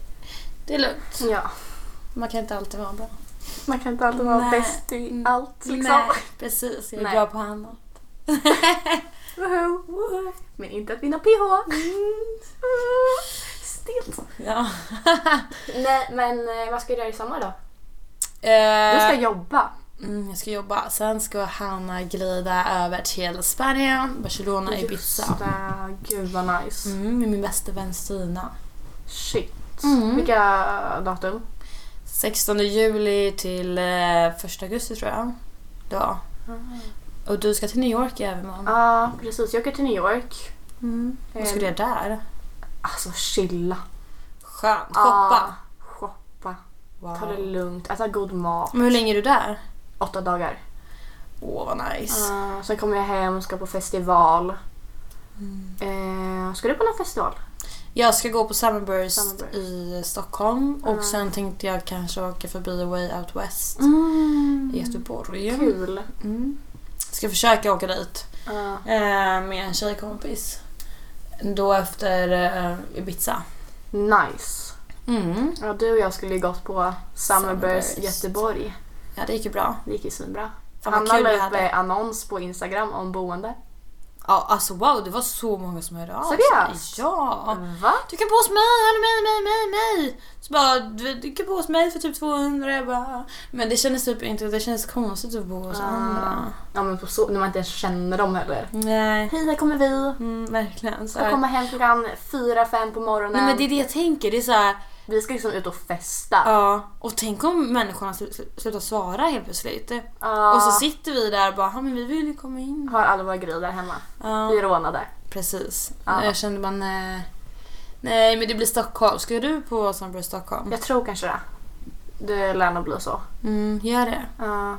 B: det är lugnt.
A: Ja,
B: Mm. Man kan inte alltid vara bra.
A: man kan inte alltid vara
B: Nej.
A: bäst i allt liksom.
B: Nej, precis. Jag är
A: Nej.
B: bra på annat.
A: Woho, woho. Men inte att vinna PH. Mm. Stilt.
B: Ja.
A: Nej, men eh, vad ska du göra i sommar då? Du
B: Eh,
A: ska jobba.
B: Mm, jag ska jobba. Sen ska Hanna glida över till Spanien, Barcelona, Ibiza.
A: Just det. Gud vad nice.
B: Mm, med min bästa vän Stina.
A: Shit.
B: Mm.
A: Vilka datum?
B: 16 juli till eh, 1 augusti tror jag. Ja. Ah. Och du ska till New York i övermorgon.
A: Ja, precis. Jag åker till New York.
B: Mm. Vad
A: Eh.
B: ska du göra där?
A: Alltså chilla.
B: Skönt.
A: Ah,
B: Shoppa.
A: shoppa. Ah, Ta det
B: Wow.
A: lugnt, äta god mat.
B: Men hur länge är du där?
A: Åtta dagar.
B: Åh, vad nice.
A: Eh, sen kommer jag hem, ska på festival. Eh, ska du på någon festival?
B: Mm. Jag ska gå på Summerburst,
A: Summerburst.
B: i Stockholm och
A: Mm.
B: sen tänkte jag kanske åka förbi Way Out West
A: Mm.
B: i Göteborg.
A: Kul.
B: Mm. Ska försöka åka dit.
A: Eh,
B: eh, med en tjejkompis. Då efter eh, Ibiza.
A: nice.
B: Mm.
A: Ja, du och jag skulle ju gått på Summerburst
B: Summerburst.
A: Göteborg.
B: Ja, det gick ju bra.
A: Det gick ju svinbra.
B: Fan, vad
A: Hanna
B: kul
A: la
B: vi
A: upp
B: hade.
A: eh, annons på Instagram om boende.
B: Ja, alltså wow, det var så många som hörde av sig.
A: Seriöst?
B: Ja.
A: Va?
B: Du kan på hos mig, hallå mig, mig, mig, mig. Så bara, du, du kan bo hos mig för typ 200. Jag bara. Men det kändes typ inte, det kändes konstigt att bo hos
A: Ah.
B: andra.
A: Ja men på så, när man inte ens känner dem heller.
B: Nej.
A: Hej, här kommer vi.
B: Mm, verkligen. Så
A: Ska
B: här.
A: komma hem klockan fyra fem på morgonen.
B: Nej men det är det jag tänker, det är så här,
A: Vi ska liksom ut och festa.
B: ja. Och tänk om människorna sl- sl- slutar svara helt plötsligt.
A: Ja.
B: Och så sitter vi där och bara, "Ja, men vi vill ju komma in.
A: Ah. Har alla våra grejer där hemma.
B: Ja.
A: Vi är rånade.
B: Precis.
A: Ja.
B: Jag kände bara nej. Nej men det blir Stockholm. Ska du på Summerburst Stockholm?
A: Jag tror kanske det. Det lär nog bli så.
B: Mm, gör det.
A: Ja,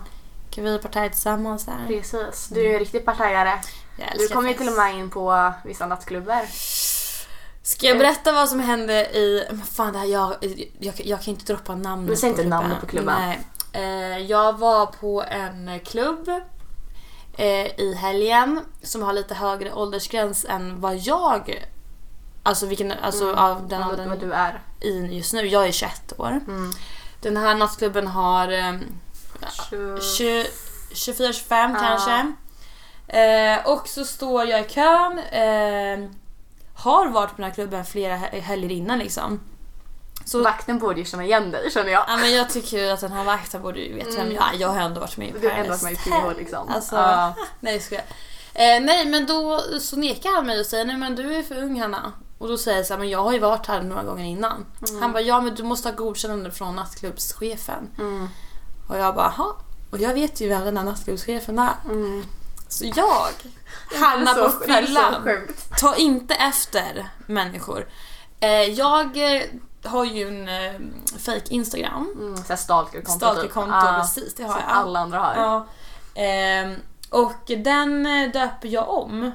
B: Kan vi partaja tillsammans där?
A: precis. Du är ju en riktig partajare.
B: Jag älskar
A: Du kommer ju
B: fest.
A: till och med in på vissa nattklubbar.
B: Ska jag berätta vad som hände i... Men fan det här, jag, jag, jag kan inte droppa namnet
A: Men säg inte
B: klubben.
A: namnet på klubben.
B: Nej. Eh, jag var på en klubb eh, i helgen som har lite högre åldersgräns än vad jag... Alltså vilken, alltså av den
A: Vad-
B: åldern
A: Vad Mm. du Mm. är.
B: i just nu. Jag är 21 år. Den här nattklubben har ehm,
A: Tjo-
B: 20 24-25
A: Ja.
B: kanske. Eh, och så står jag i kön. Eh, har varit på den här klubben flera he- helger innan liksom. Så
A: Vakten borde ju känna igen dig känner jag.
B: ja, men jag tycker ju att den här vakten borde ju veta vem jag är. Jag har ändå varit med i
A: Du har ändå varit
B: Paradise
A: med i
B: Hotel.
A: PH liksom.
B: Alltså,
A: Ja.
B: Nej, ska jag. Eh, nej, men då så nekar han mig och säger nej men du är för ung Hanna. Och då säger jag så här, men jag har ju varit här några gånger innan.
A: Mm.
B: Han bara, ja men du måste ha godkännande från nattklubbschefen.
A: Mm.
B: Och jag bara, jaha. Och jag vet ju vem den här nattklubschefen är.
A: Mm.
B: Så jag, Hanna
A: Det är
B: på
A: så- det är så
B: fyllan.
A: sjukt.
B: Ta inte efter människor. Eh, jag eh, har ju en eh, fake Instagram.
A: Mm, såhär stalkerkonto
B: Statligt konto,
A: Ja,
B: precis. Det har
A: typ. Ah, som
B: jag.
A: alla andra har.
B: Ja. Ehm, och den eh, döper jag om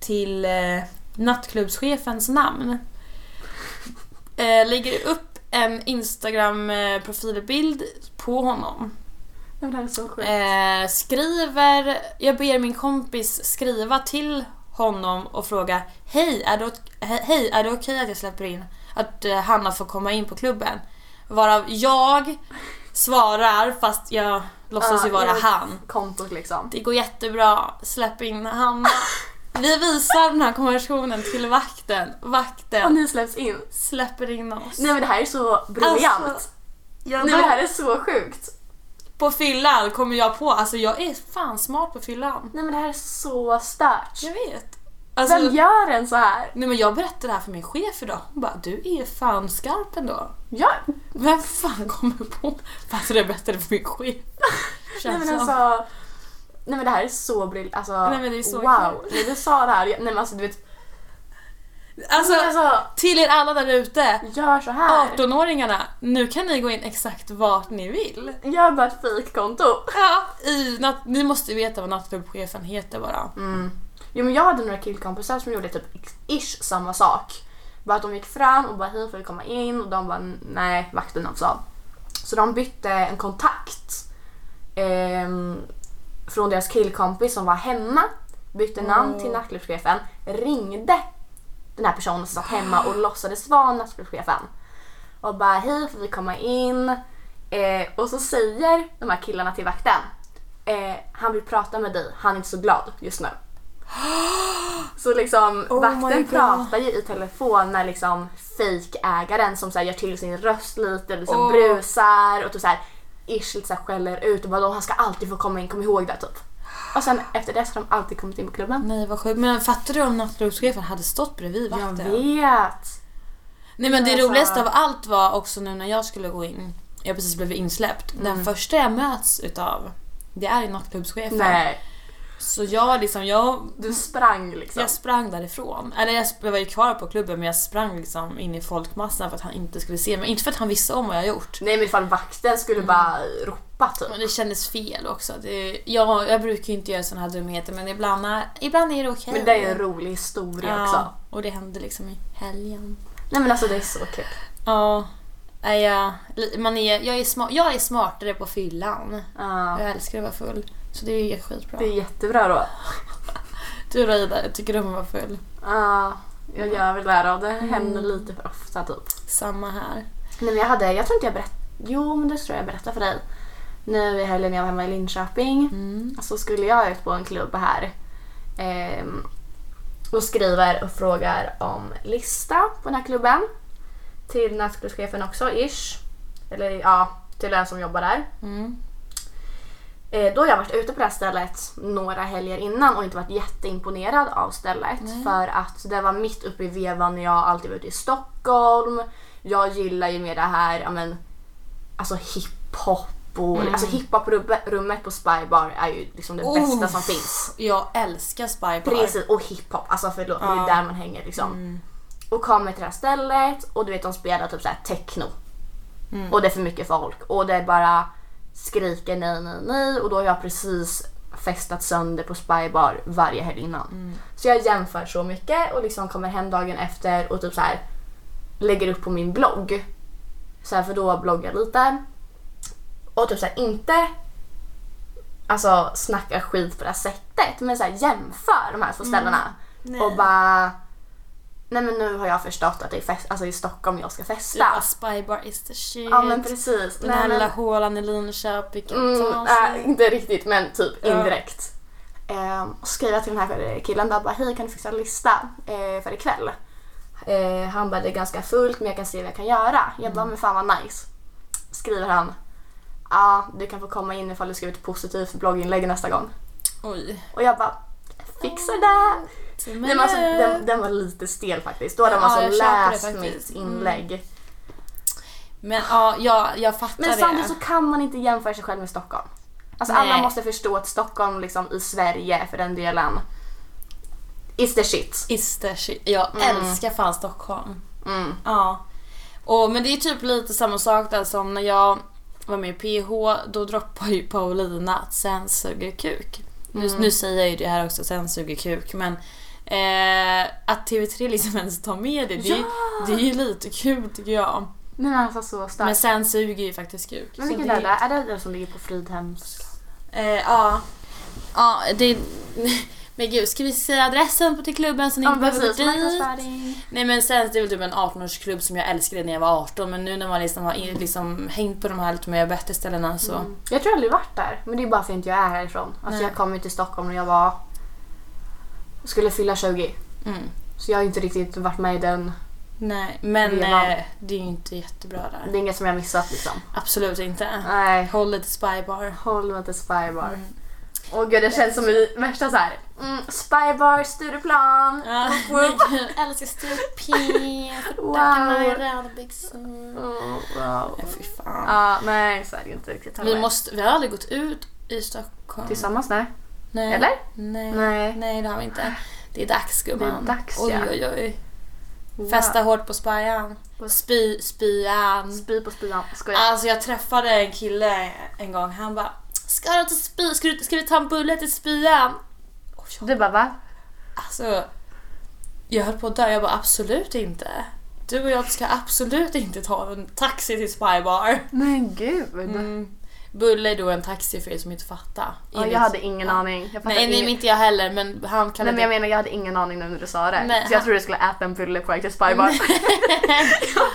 B: till eh, nattklubbschefens namn. Eh, lägger upp en Instagram-profilbild på honom.
A: Ja, Det här är så sjukt.
B: Eh, skriver, jag ber min kompis skriva till honom och fråga Hej, är det, ok- he- hej, är det okej att jag släpper in? Att eh, Hanna får komma in på klubben? Varav jag svarar fast jag låtsas ju
A: Ja,
B: vara
A: Ah, jag vet.
B: han.
A: Kontot liksom.
B: Det går jättebra, släpp in Hanna. Vi visar den här konversationen till vakten.
A: Och
B: Vakten
A: ni släpps in.
B: släpper in oss.
A: Nej men det här är så briljant.
B: Alltså,
A: Nej men det här är så sjukt.
B: På fyllan kommer jag på, alltså jag är fan smart på fyllan.
A: Nej men det här är så stört.
B: Jag vet. Alltså,
A: Vem gör en så här?
B: nej men jag berättade det här för min chef idag. Hon bara, du är fan skarp ändå.
A: Ja.
B: Vem fan kommer på? Alltså jag berättade för min chef.
A: Nej
B: Känns
A: men
B: som.
A: alltså. Nej men det här är så briljant. Alltså,
B: Nej, men det är så
A: wow.
B: kul.
A: När du sa det här, jag- nej men alltså du vet.
B: alltså,
A: Men alltså
B: till er alla där ute.
A: gör så här.
B: 18-åringarna, nu kan ni gå in exakt vart ni vill.
A: Gör bara ett fejkkonto.
B: Ja, i natt, ni måste ju veta vad nattklubbschefen heter bara.
A: Mm. Jo men jag hade några killkompisar som gjorde typ ex- ish samma sak. Bara att de gick fram och bara hej får vi komma in och de bara nej vakten också. Så de bytte en kontakt ehm, från deras killkompis som var hemma, bytte namn till nattklubbschefen, ringde den här personen som satt hemma och låtsades vara nattklubbschefen. Och bara hej får vi komma in? Eh, och så säger de här killarna till vakten eh, han vill prata med dig, han är inte så glad just nu. Så liksom
B: Oh my
A: vakten
B: God.
A: pratar ju i telefon med liksom fejkägaren som så här gör till sin röst lite, liksom
B: Åh.
A: brusar och typ så här, ish lite så här skäller ut och bara "Åh, han ska alltid få komma in, kom ihåg det typ. Och sen efter det så har de alltid kommit in på klubben.
B: Nej vad sjukt, men fattar du om nattklubbschefen hade stått bredvid
A: Jag
B: vakten?
A: vet!
B: Nej men det
A: Alltså-
B: roligaste av allt var också nu när jag skulle gå in, jag precis blev insläppt,
A: Mm.
B: den första jag möts utav det är ju nattklubbschefen.
A: Nej,
B: Så jag liksom, jag,
A: du sprang liksom.
B: jag sprang därifrån. Eller jag, sp- jag var ju kvar på klubben men jag sprang liksom in i folkmassan för att han inte skulle se mig. Inte för att han visste om vad jag gjort.
A: Nej men ifall vakten skulle bara ropa typ.
B: Mm. Men det kändes fel också. Det, jag, jag brukar ju inte göra sådana här dumheter men ibland är, ibland är det okej.
A: Men det är ju en rolig historia också.
B: Ja, och det hände liksom i helgen.
A: Nej men alltså det är så kul.
B: Ja. Nej, jag, li- man är, jag, är sma, jag är smartare på fyllan.
A: Ja,
B: Jag älskar att vara full. Så det är ju skitbra.
A: det är jättebra då.
B: Du då Ida, tycker du om att vara full?
A: Ja, jag gör väl det här då. Det händer
B: Mm.
A: lite för ofta typ.
B: Samma här.
A: Nej men jag hade, jag tror inte jag berättade, jo men det tror jag jag berättade för dig. Nu i helgen när jag var hemma i Linköping så skulle jag ut på en klubb här. Ehm, och skriver och frågar om lista på den här klubben. Till nattklubbschefen också, ish. Eller ja, till den som jobbar där.
B: Mm.
A: Eh, Då har jag varit ute på det här stället några helger innan och inte varit jätteimponerad av stället. För att det var mitt uppe i vevan när jag alltid var ute i Stockholm. Jag gillar ju mer det här, ja men, alltså hiphop och
B: Mm.
A: alltså hiphop-rummet på Spybar är ju liksom det
B: Oh.
A: bästa som finns.
B: Jag älskar Spy Bar.
A: Precis, och hiphop. Alltså förlåt, det är där man hänger liksom. Och kommer till det här stället och du vet de spelar typ så här techno. Och det är för mycket folk och det är bara skriker nej, nej, nej och då har jag precis festat sönder på spybar varje helg innan. Så jag jämför så mycket och liksom kommer hem dagen efter och typ så här lägger upp på min blogg. Så här, för då bloggar jag lite. Och typ så här, inte alltså, snackar skit på det här sättet men så här, jämför de här
B: Mm.
A: två ställena. Och bara... Nej men nu har jag förstått att det är fest, alltså, i Stockholm jag ska festa.
B: Ja, alltså, Spy Bar is the shit.
A: Ja men precis.
B: Den här
A: Nej,
B: lilla
A: men,
B: hålan i Linköping.
A: mm,
B: Ta sig.
A: äh, inte riktigt men typ
B: Ja.
A: indirekt. Ehm, och så skrev jag till den här killen där bara hej kan du fixa en lista eh, för ikväll? Eh, han bara det är ganska fullt men jag kan se vad jag kan göra. Jag bara men fan vad nice. Skriver han ja du kan få komma in ifall du skriver ett positivt blogginlägg nästa gång.
B: Oj.
A: Och jag bara fixar det!
B: Till mig.
A: Nej, Ah, men alltså, den, den var lite stel faktiskt. Då hade de
B: Ja,
A: alltså
B: jag köper det
A: läst
B: faktiskt.
A: mitt inlägg.
B: Men ja, jag, jag fattar
A: Men
B: det.
A: samtidigt så kan man inte jämföra sig själv med Stockholm. Alltså alla
B: Nej.
A: måste förstå att Stockholm liksom i Sverige för den delen is the shit.
B: Is the shit. Jag älskar fan Stockholm.
A: Mm.
B: Ja. Och, men det är typ lite samma sak där som när jag var med i PH, då droppade ju Paulina att sen suger kuk. Nu,
A: Mm.
B: nu säger jag ju det här också, sen suger kuk, men eh, att TV3 liksom ens tar med det, det, är ju- det är ju lite kul tycker jag.
A: Men alltså så starkt.
B: Men
A: Men,
B: sen suger ju faktiskt kuk. så
A: vilken
B: det-
A: är det? Är det den som ligger på Fridhems?
B: Eh, ja. Ja, det... Men gud, ska vi säga adressen på till klubben så ni inte behöver gå dit?
A: marknadsföring.
B: Nej men sen det är väl typ en 18-årsklubb som jag älskade när jag var 18 men nu när man liksom har in- liksom, hängt på de här lite mer bättre ställena så...
A: Jag tror aldrig varit där, men det är bara för att inte jag är härifrån. Alltså
B: Nej.
A: jag kom ju till Stockholm när jag var... skulle fylla 20.
B: Mm.
A: Så jag har inte riktigt varit med i den.
B: Nej men
A: Revan.
B: eh, det är ju inte jättebra där.
A: Det är inget som jag missat liksom.
B: Absolut inte.
A: Nej.
B: Håll lite Mm. spybar.
A: Håll mig till Spybar. Åh gud, det känns som i värsta så här. Mm, Spybar, Stureplan.
B: Ja, men gud, älskar strupi,
A: Wow.
B: rödbyxor.
A: Mm, wow.
B: Ja, fy fan.
A: Ja, nej så är det inte riktigt
B: Vi,
A: heller.
B: måste, vi har aldrig gått ut i Stockholm.
A: Tillsammans, nej.
B: Nej.
A: Eller?
B: Nej.
A: Nej.
B: Nej det har vi inte. Det är dags gumman.
A: Det är dags,
B: oj,
A: ja.
B: oj, oj.
A: Wow.
B: Fästa hårt på spyan.
A: På-
B: Spy, spyan.
A: Spy på spyan. Skojar.
B: Alltså jag träffade en kille en gång, han bara Ska du till spy? Ska, du, ska vi ta en bulle till spyan? Och jag,
A: Du bara va?
B: alltså, jag höll på att dö, jag bara absolut inte. Du och jag ska absolut inte ta en taxi till spybar.
A: Men gud.
B: Mm. Bulle är då en taxi för er som inte fattar.
A: Ja,
B: Enligt-
A: jag hade ingen aning. Jag fattar
B: Nej, nej
A: ingen-
B: men inte jag heller men han kan
A: Nej men
B: inte
A: jag menar jag hade ingen aning nu när du sa det.
B: Nej,
A: så jag
B: han-
A: trodde du skulle äta en bulle på väg till Spybar. jag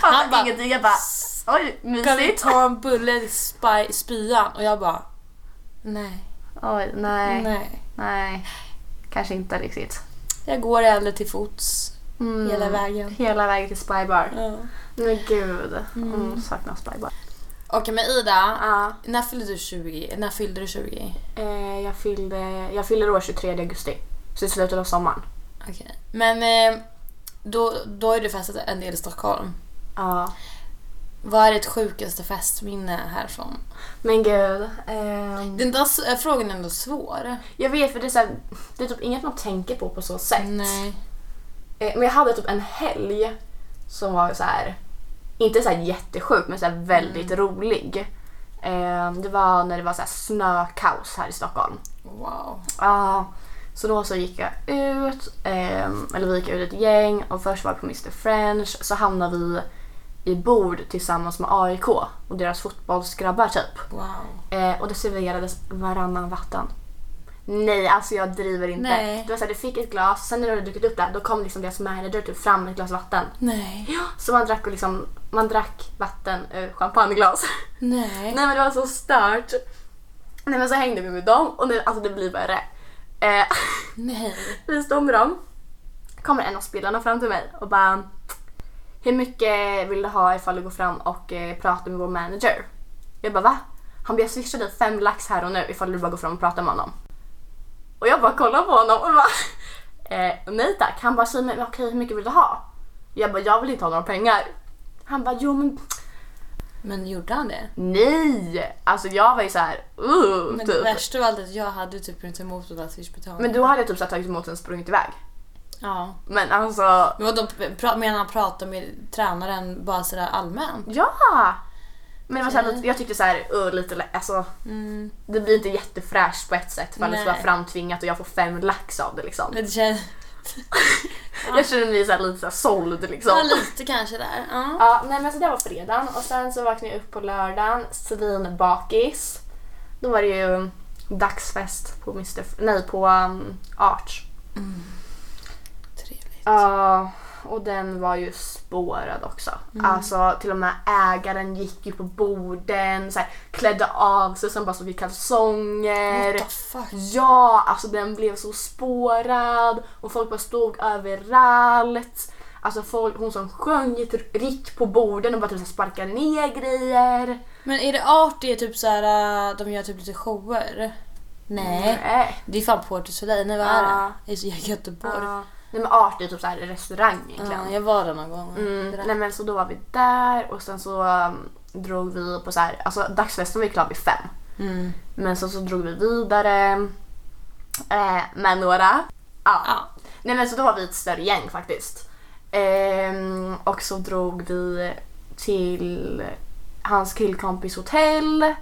B: Han bara-
A: fattade ingenting. Jag bara oj
B: Ska vi
A: mysigt.
B: ta en bulle i spy, spyan? Och jag bara nej,
A: Oj nej,
B: nej.
A: nej. Kanske inte riktigt.
B: Jag går hellre till fots
A: Mm.
B: hela vägen.
A: Hela vägen till Spybar.
B: Ja.
A: Men gud. Mm, saknar Spybar.
B: Okej men Ida,
A: Ja,
B: när fyllde du 20? När fyllde du 20?
A: eh, jag, fyllde, jag fyller år 23 augusti. Så i slutet av sommaren.
B: Okej. Men eh, då, då är du festat en del i Stockholm.
A: Ja.
B: Vad är ditt sjukaste festminne härifrån?
A: Men gud. ehm,
B: Den där s- eh, frågan är ändå svår.
A: jag vet för det är, så här, det är typ inget man tänker på på så sätt.
B: Nej.
A: Eh, Men jag hade typ en helg som var så här inte så här jättesjuk men så här väldigt rolig. Eh, Det var när det var så här snökaos här i Stockholm.
B: Wow.
A: Ja. Så då så gick jag ut, ehm, eller vi gick ut ett gäng och först var vi på Mr French så hamnade vi i bord tillsammans med AIK och deras fotbollsgrabbar typ.
B: Wow.
A: Eh, och det serverades varannan vatten. Nej, alltså jag driver inte.
B: Nej.
A: Det var så här, du fick ett glas, sen när du hade druckit upp det, då kom liksom deras manager typ fram med ett glas vatten.
B: Nej.
A: Ja. Så man drack, och liksom, man drack vatten ur champagneglas.
B: Nej.
A: Nej men det var så stört. Nej men så hängde vi med dem och det, alltså det blir värre. Eh,
B: Nej.
A: vi står med dem. Kommer en av spelarna fram till mig och bara Hur mycket vill du ha ifall du går fram och eh, pratar med vår manager? Jag bara va? Han bara jag swishar dig fem lax här och nu ifall du bara går fram och pratar med honom. Och jag bara kollar på honom och bara eh, nej tack. Han bara säg mig men okej hur mycket vill du ha? Jag bara jag vill inte ha några pengar. Han bara jo men
B: Men gjorde han det?
A: nej! Alltså jag var ju såhär uh,
B: Men det
A: typ.
B: värsta av allt är att jag hade typ inte emot att vara swishbetalning.
A: Men då hade jag typ så här, tagit emot den och sprungit iväg.
B: Ja.
A: Men alltså
B: Men vadå, pra- menar han pratar med tränaren bara sådär allmänt?
A: Ja! Men det var så här,
B: Okej.
A: jag tyckte så här, uh, lite, lä- alltså,
B: Mm.
A: det blir inte jättefräscht på ett sätt för att det
B: Nej.
A: ska vara framtvingat och jag får fem lax av det liksom.
B: Men det känns...
A: Jag känner mig så här, lite så här, såld
B: Ja,
A: liksom.
B: lite kanske där. Ja.
A: Ja, nej men så det var fredagen och sen så vaknade jag upp på lördagen, svinbakis. Då var det ju dagsfest på Mr. F- nej på um, Arch.
B: Trevligt.
A: Ja, och den var ju spårad också.
B: Mm.
A: Alltså till och med ägaren gick ju på borden, så här, klädde av sig sen bara så fick kalsonger.
B: What the fuck?
A: Ja, alltså den blev så spårad och folk bara stod överallt. Alltså folk, hon som sjöng gick typ rikt på borden och bara typ så här sparkade ner grejer.
B: Men är det art det är typ såhär, äh, de gör typ lite shower? Nej.
A: Nej.
B: Det är fan Port du Soleil, nej vad är
A: Ja.
B: det? I Göteborg.
A: Ja. Nej men art är typ så här restaurang egentligen.
B: Ja, jag var där någon gång.
A: Mm,
B: Det där.
A: nej men så då var vi där och sen så um, drog vi på så här, alltså dagsfesten var ju klar vid fem. Men så, så drog vi vidare eh, med några. Ja.
B: Ja.
A: Nej men så då var vi ett större gäng faktiskt. Ehm, och så drog vi till hans killkompis hotell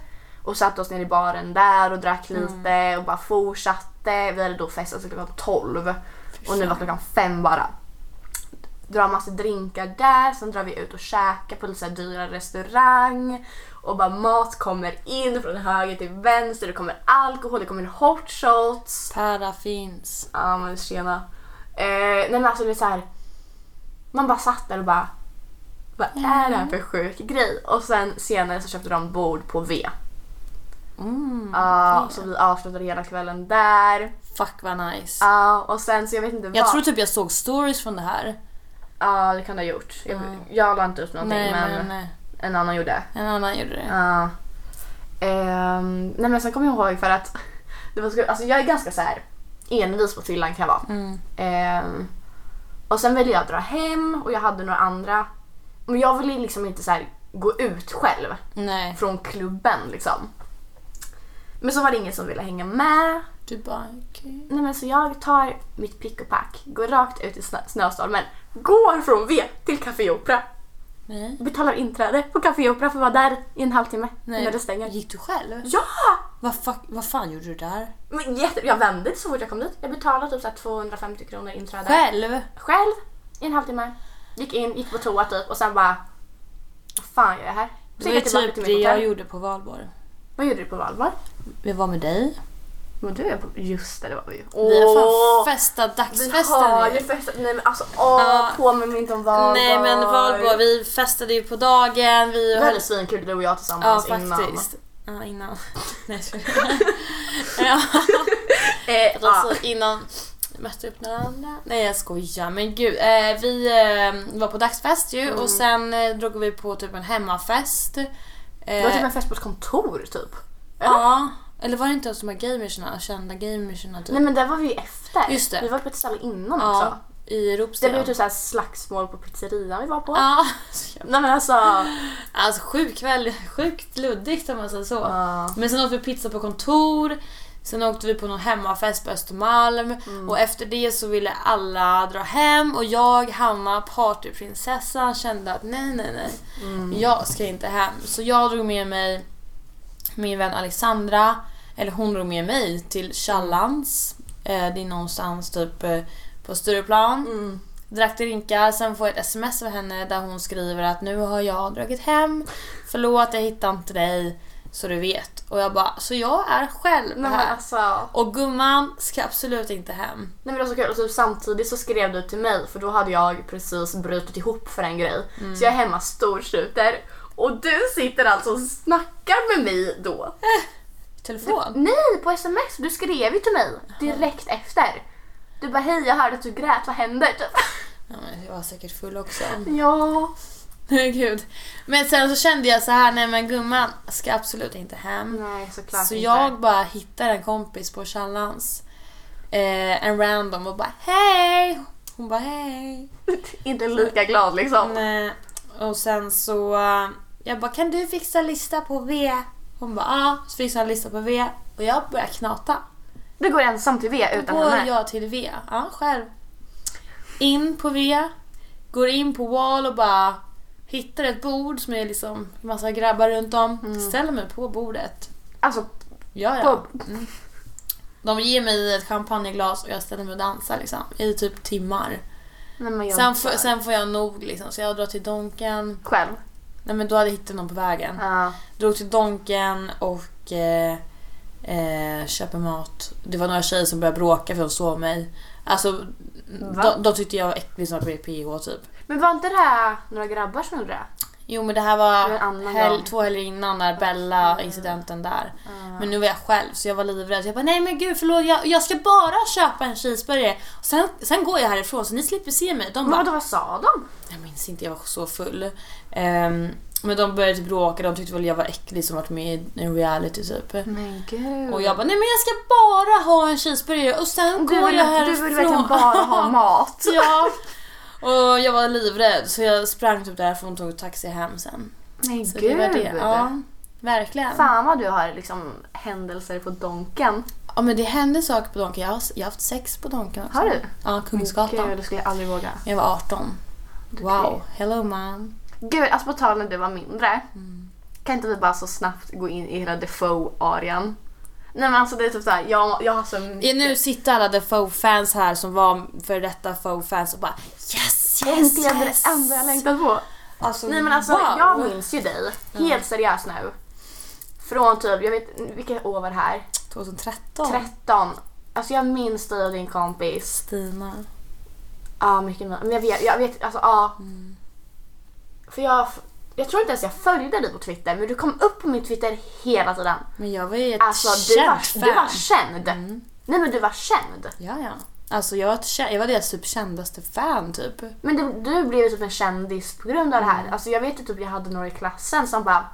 A: och satte oss ner i baren där och drack lite och bara fortsatte. Vi hade då festat till klockan 12 och nu var klockan 5 bara. Drar massa drinkar där, sen drar vi ut och käkar på lite så här dyra restaurang och bara mat kommer in från höger till vänster, det kommer alkohol, det kommer hot shots.
B: Paraffins.
A: Ja men tjena. Eh, nej men alltså det är så här. Man bara satt där och bara. Vad är
B: Mm.
A: det här för sjuk grej? Och sen senare så köpte de bord på V.
B: Mm.
A: Ja, Så vi avslutade hela kvällen där.
B: Fuck vad nice.
A: Ja och sen så jag vet inte
B: Jag
A: vad.
B: tror typ jag såg stories från det här.
A: Ja det kan det ha gjort. Jag, jag la inte ut någonting
B: Nej
A: men,
B: men eh,
A: en annan gjorde.
B: en annan gjorde det.
A: Ja. Ehm, nej men sen kommer jag ihåg för att det var, sku- alltså jag är ganska så här envis på fyllan kan jag vara.
B: Mm.
A: Ehm, och sen ville jag dra hem och jag hade några andra. Men jag ville liksom inte så här gå ut själv
B: Nej.
A: från klubben liksom. Men så var det ingen som ville hänga med.
B: Du bara okej.
A: Nej men så jag tar mitt pick och pack, går rakt ut i snö- snöstormen, går från V till Café Opera.
B: Nej.
A: Betalar inträde på Café Opera för att vara där i en halvtimme innan det stänger.
B: Gick du själv?
A: Ja!
B: Vad, fuck, vad fan gjorde du där?
A: Men jätte, jag vände så fort jag kom dit. Jag betalade typ så här 250 kronor inträde.
B: Själv?
A: Själv i en halvtimme. Gick in, gick på toa typ och sen bara... Vad fan gör jag här? Så gick
B: Det var
A: jag tillbaka
B: typ
A: till
B: det
A: mitt
B: jag
A: hotell.
B: gjorde på valborg.
A: Vad gjorde du på Valborg?
B: Vi var med dig.
A: Men du är på... Just det, det var vi ju.
B: Vi har
A: Åh,
B: fan festat
A: Vi har
B: dagsfesten.
A: ju festat. Nej men alltså åh,
B: Ja.
A: påminn mig inte om Valborg.
B: Nej men valborg, vi festade ju på dagen. Vi
A: Det
B: höll
A: hade svinkul du och jag
B: Ja,
A: tillsammans innan.
B: faktiskt. Ja, innan. Nej, sorry. ja,
A: Eh, ja.
B: alltså innan mötte upp några andra. Nej, jag skojar. Men gud. Eh, vi eh, var på dagsfest ju
A: Mm.
B: och sen eh, drog vi på typ en hemmafest.
A: Det var typ
B: Eh,
A: en fest på ett kontor typ.
B: ja. Eller var det inte ens de här gamersna, kända gamersna typ?
A: Nej men där var vi ju efter.
B: Just det.
A: Vi var på ett ställe innan också.
B: ja, i
A: Det blev
B: Ropsten.
A: typ såhär slagsmål på pizzerian vi var på.
B: Ja,
A: Nej men alltså.
B: alltså sjuk kväll, sjukt luddigt om man säger så. Men sen åt vi pizza på kontor, sen åkte vi på någon hemmafest på Östermalm och efter det så ville alla dra hem och jag, Hanna, partyprinsessan kände att nej, nej, nej. Jag ska inte hem. Så jag drog med mig min vän Alexandra, eller hon drog med mig till Challans. Eh, det är någonstans typ eh, på Stureplan. Drack drinkar, sen får jag ett sms av henne där hon skriver att nu har jag dragit hem. Förlåt, jag hittar inte dig. Så du vet. Och jag bara, så jag är själv
A: Nej men
B: här.
A: alltså.
B: Och gumman ska absolut inte hem.
A: Nej men det var så kul, och typ samtidigt så skrev du till mig för då hade jag precis brutit ihop för en grej.
B: Mm.
A: Så jag är hemma storsuter och du sitter alltså och snackar med mig då.
B: Telefon.
A: Nej, på sms! Du skrev ju till mig direkt efter. Du bara hej jag hörde att du grät, vad händer? Typ.
B: Ja, men jag var säkert full också.
A: Ja.
B: Nej, Gud. Men sen så kände jag så här, nej men gumman ska absolut inte hem.
A: Nej såklart
B: så
A: inte.
B: jag bara hittar en kompis på Challans. Eh, en random och bara hej! Hon bara hej.
A: Inte lika glad liksom.
B: Nej. eh, Och sen så... eh, Jag bara, kan du fixa en lista på V? Hon bara, ja. Så fixade jag en lista på V. Och jag börjar knata.
A: Du går ensam till V
B: Då
A: utan
B: går
A: henne.
B: jag till V. Ja, själv. In på V. Går in på Wall och bara hittar ett bord som är liksom massa grabbar runt om. Ställer mig på bordet.
A: Alltså
B: Ja, ja.
A: Mm. på,
B: De ger mig ett champagneglas och jag ställer mig och dansar liksom, i typ timmar.
A: nej, men jag
B: Sen, får- sen får jag nog liksom, så jag drar till Donken.
A: Själv.
B: Nej men då hade jag hittat någon på vägen.
A: Ja.
B: Drog till Donken och eh, eh, köper mat. Det var några tjejer som började bråka för de såg mig. Alltså, de, de tyckte jag var äcklig som var PH typ.
A: Men var inte det här några grabbar som gjorde det?
B: Jo men det här
A: Men
B: var
A: annan gång.
B: hel, två helger innan när Mm. Bella-incidenten där. Men nu var jag själv så jag var livrädd. Så Jag bara, nej men gud förlåt jag, jag ska bara köpa en cheeseburgare. Och Sen, sen går jag härifrån så ni slipper se mig. De
A: Men
B: bara,
A: vadå vad sa de?
B: jag minns inte, jag var så full. Ehm, men de började typ bråka, de tyckte väl jag var äcklig som varit med i en reality typ.
A: Men gud.
B: Och jag bara, nej men jag ska bara ha en cheeseburgare och sen
A: Du
B: går
A: vill,
B: jag härifrån.
A: du vill verkligen bara ha mat.
B: ja. Och jag var livrädd så jag sprang typ därifrån och tog taxi hem sen.
A: Men
B: Så
A: gud.
B: det var det. Ja. Verkligen.
A: Fan vad du har liksom händelser på Donken.
B: Ja men det händer saker på Donken. Jag har, jag har haft sex på Donken också.
A: Har du?
B: Ja, Kungsgatan.
A: Gud, det skulle jag aldrig våga.
B: Jag var 18. Wow. Hello mom.
A: Gud, alltså på tal när du var mindre.
B: Mm.
A: Kan inte vi bara så snabbt gå in i hela Defoe-arian? Nej men alltså det är typ såhär, jag, jag har så mycket...
B: Ja, nu sitter alla Defoe-fans här som var för detta Foe-fans och bara yes, yes,
A: Äntligen
B: yes.
A: det enda jag längtat på.
B: Alltså,
A: Nej men alltså
B: wow.
A: jag minns ju dig, helt seriöst nu. Från typ, jag vet vilket år var det här?
B: 2013.
A: 13. Alltså jag minns dig och din kompis.
B: Stina.
A: Ja, mycket mer. Men jag vet, jag vet alltså ja.
B: Mm.
A: För jag, jag tror inte ens jag följde dig på Twitter, men du kom upp på min Twitter hela tiden.
B: Men jag var ju ett
A: Alltså du
B: känt
A: var, du var
B: fan. Mm.
A: känd. Nej men du var känd.
B: Ja, ja. Alltså jag var, ett, kä- jag var deras typ kändaste fan typ.
A: Men du, du blev ju typ en kändis på grund av det
B: Mm.
A: här. Alltså jag vet ju typ jag hade några i klassen som bara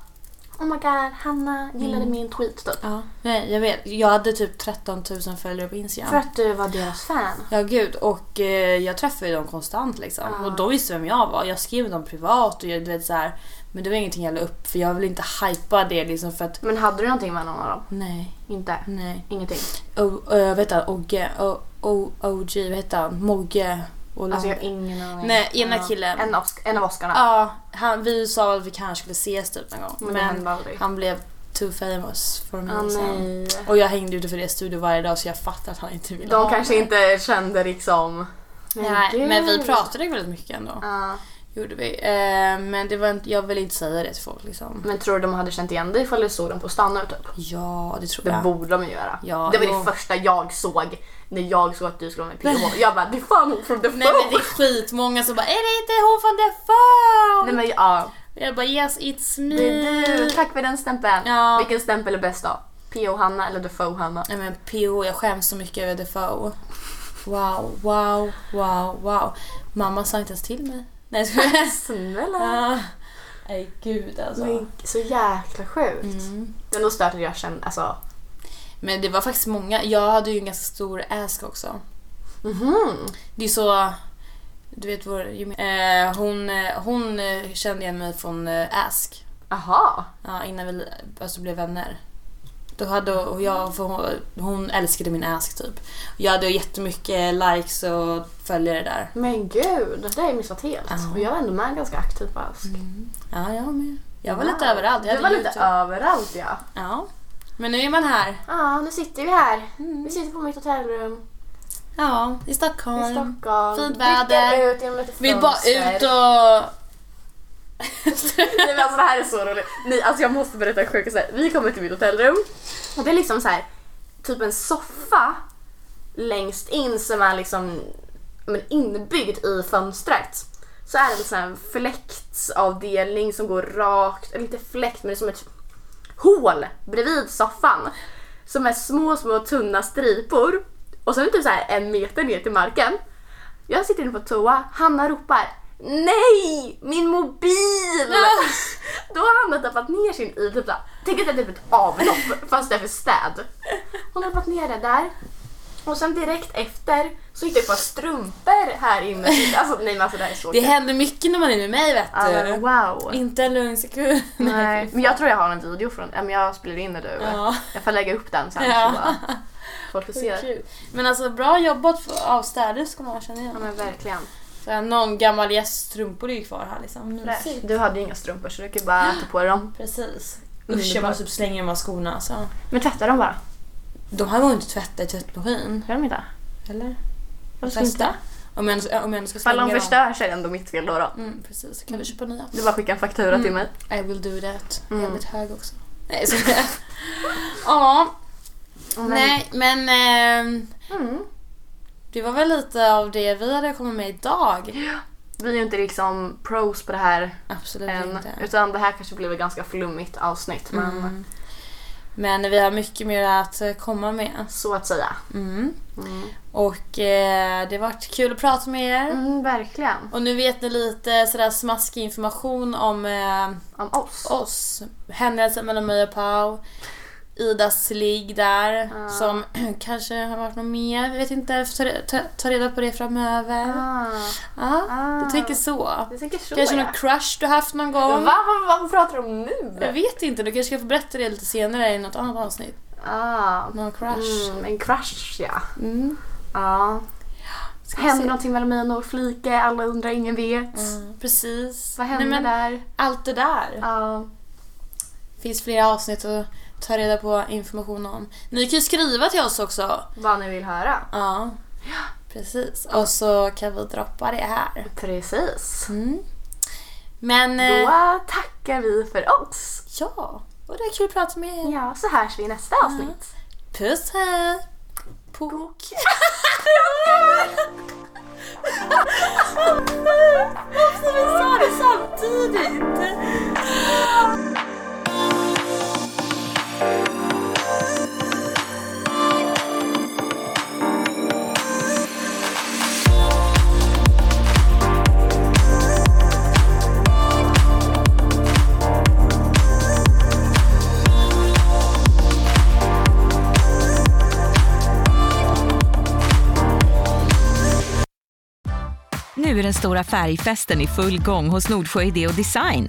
A: Oh my god, Hanna
B: Mm.
A: gillade min tweet typ.
B: Ja. Nej, jag vet. Jag hade typ 13 000 följare på
A: För
B: Instagram.
A: att du var deras fan.
B: Ja gud och eh, jag träffade ju dem konstant liksom. Och de visste vem jag var. Jag skrev dem privat och jag, du vet så här. Men det var ingenting jag la upp för jag vill inte hypa det liksom för att
A: Men hade du någonting med någon av dem?
B: nej,
A: Inte?
B: nej.
A: Ingenting?
B: Och, och, vad heter han? Ogge? Och- och- OG, vad heter han? Mogge? Och
A: Alltså jag har ingen aning.
B: Nej, ena
A: Ja.
B: killen.
A: En av, en av Oscarna.
B: Ja, han, vi sa att vi kanske skulle ses typ någon gång.
A: Men det hände aldrig.
B: han blev too famous för mig
A: Ah,
B: sen.
A: nej.
B: Och jag hängde utanför deras studio varje dag så jag fattar att han inte ville
A: De
B: ha
A: kanske
B: mig.
A: inte kände liksom...
B: Nej, men vi
A: gud. Ah.
B: pratade väldigt mycket ändå.
A: Ja,
B: Gjorde vi. Eh, men det var inte, jag ville inte säga det till folk liksom.
A: men tror du de hade känt igen dig ifall du såg dem på stan nu typ?
B: Ja, det tror
A: Det
B: jag.
A: borde de ju göra.
B: Ja,
A: det var
B: jo.
A: det första jag såg när jag såg att du skulle vara med i PH. Jag bara, det är fan hon från The
B: Nej men det är skitmånga som bara “Är det inte hon från The Fall?”
A: Nej men ja,
B: Jag bara “Yes, it's me”.
A: det är du. Tack för den stämpeln.
B: Ja.
A: Vilken stämpel är bäst då? PH Hanna eller Defoe Hanna?
B: Nej men PO, jag skäms så mycket över Defoe. Wow, wow, wow, wow. Mamma sa inte ens till mig. Nej jag skojar.
A: Snälla.
B: Ah, Nej gud alltså. Mm.
A: Men, så jäkla sjukt. Det är nog stört att jag känner, alltså.
B: Men det var faktiskt många. Jag hade ju en ganska stor ask också.
A: Mhm.
B: Det är så... Du vet vår gemen- eh, hon, eh, hon eh, kände igen mig från eh, ask.
A: Aha.
B: Ja, innan vi alltså, blev vänner. Då hade och jag, för hon, hon älskade min ask typ. Jag hade ju jättemycket likes och följare där.
A: Men gud, det har jag missat helt.
B: Ja.
A: Och jag var ändå med ganska aktivt på Ask.
B: Ja, jag med. Jag var
A: Wow.
B: lite överallt. Jag
A: Du var
B: hade
A: lite
B: YouTube.
A: överallt ja.
B: Ja. Men nu är man här.
A: Ja, nu sitter vi här.
B: Mm.
A: Vi sitter på mitt hotellrum
B: Ja, i Stockholm.
A: i Stockholm.
B: Fint väder.
A: Blickar ut genom lite
B: Vi är bara
A: fönster.
B: ut och...
A: Nej, men alltså, det här är så roligt. Nej, alltså, jag måste berätta en sjuk sak. Vi kommer till mitt hotellrum och det är liksom så här, typ en soffa längst in som är liksom men inbyggd i fönstret. Så är det en sån här fläktsavdelning som går rakt, eller inte fläkt men det är som ett hål bredvid soffan. Som är små, små tunna stripor. Och sen är det typ så här en meter ner till marken. Jag sitter inne på toa, Hanna ropar Nej! Min mobil! Då har Hanna tappat ner sin i typ så här- Tänk att det är typ ett avlopp fast det är för städ. Hon har tappat ner det där. Och sen direkt efter så hittade jag ett par strumpor här inne. Alltså nej men alltså det här är så
B: Det eh,
A: kul.
B: händer mycket när man är med mig vet
A: Alltså,
B: du.
A: wow.
B: Inte en lugn sekund.
A: Nej, men jag tror jag har en video från ja, men jag spelade in det du.
B: Ja.
A: Jag får lägga upp den sen
B: Ja.
A: så bara, folk får se.
B: Kul. Men alltså bra jobbat för- av städerskor man känner
A: Ja
B: igen.
A: men verkligen.
B: Så här, Någon gammal gästs strumpor är ju kvar här liksom. Mysigt.
A: Du hade ju inga strumpor så du kan ju bara ta på dig dem.
B: Precis. Usch
A: Underbart.
B: jag måste typ slänga de här skorna alltså.
A: Men tvätta dem bara.
B: De här går ju inte att tvätta i tvättmaskin.
A: Gör de inte?
B: Eller?
A: Varför ska
B: Testa.
A: inte?
B: Om jag, ändå- om jag ändå ska
A: Ifall
B: slänga
A: de
B: dem.
A: förstör så är det ändå mitt fel då. då.
B: Mm, precis. Så kan du köpa nya.
A: Du bara skickar en faktura till mig.
B: I will do that.
A: Mm.
B: Jävligt hög också. Nej, så Ja, nej men ehm,
A: Mm.
B: det var väl lite av det vi hade kommit med idag.
A: Vi är ju inte liksom pros på det här
B: Absolut
A: än.
B: inte.
A: Utan det här kanske blev ett ganska flummigt avsnitt. Men
B: Mm. Men vi har mycket mer att eh, komma med.
A: så att säga.
B: Mm.
A: Mm.
B: Och eh, det har varit kul att prata med er.
A: Mm, verkligen.
B: Och nu vet ni lite sådär smaskig information om eh,
A: Om oss.
B: oss. Händelsen mellan mig och Pau. Ida Slig där som kanske har varit något mer. Jag vet inte, jag får ta, re- ta, ta reda på det framöver.
A: Ah.
B: Ja,
A: Ah.
B: du tänker så.
A: Du tänker så
B: Kanske
A: ja.
B: någon crush du haft någon
A: Va?
B: gång.
A: Vad, vad pratar du om
B: Jag
A: nu?
B: vet inte, du kanske ska få berätta det lite senare i något annat avsnitt.
A: Ah.
B: Någon crush.
A: Mm, en crush ja.
B: Mm.
A: ja.
B: Ska vi
A: Händer
B: se.
A: någonting mellan mig och Nour Flike? Alla undrar, ingen vet.
B: Mm, precis.
A: Vad hände
B: Nej, men
A: där?
B: Allt det där.
A: Ja.
B: finns flera avsnitt att ta reda på information om. Ni kan ju skriva till oss också.
A: vad ni vill höra.
B: Ja, precis. Och så kan vi droppa det här.
A: Precis.
B: Mm. Men
A: Då
B: eh,
A: eh, tackar vi för oss.
B: ja, och det är kul att prata med er.
A: Ja, så hörs vi i nästa
B: Mm.
A: avsnitt.
B: Puss hej! Pok. Varför vi sa det samtidigt?
C: Nu är den stora färgfesten i full gång hos Nordsjö Idé och Design.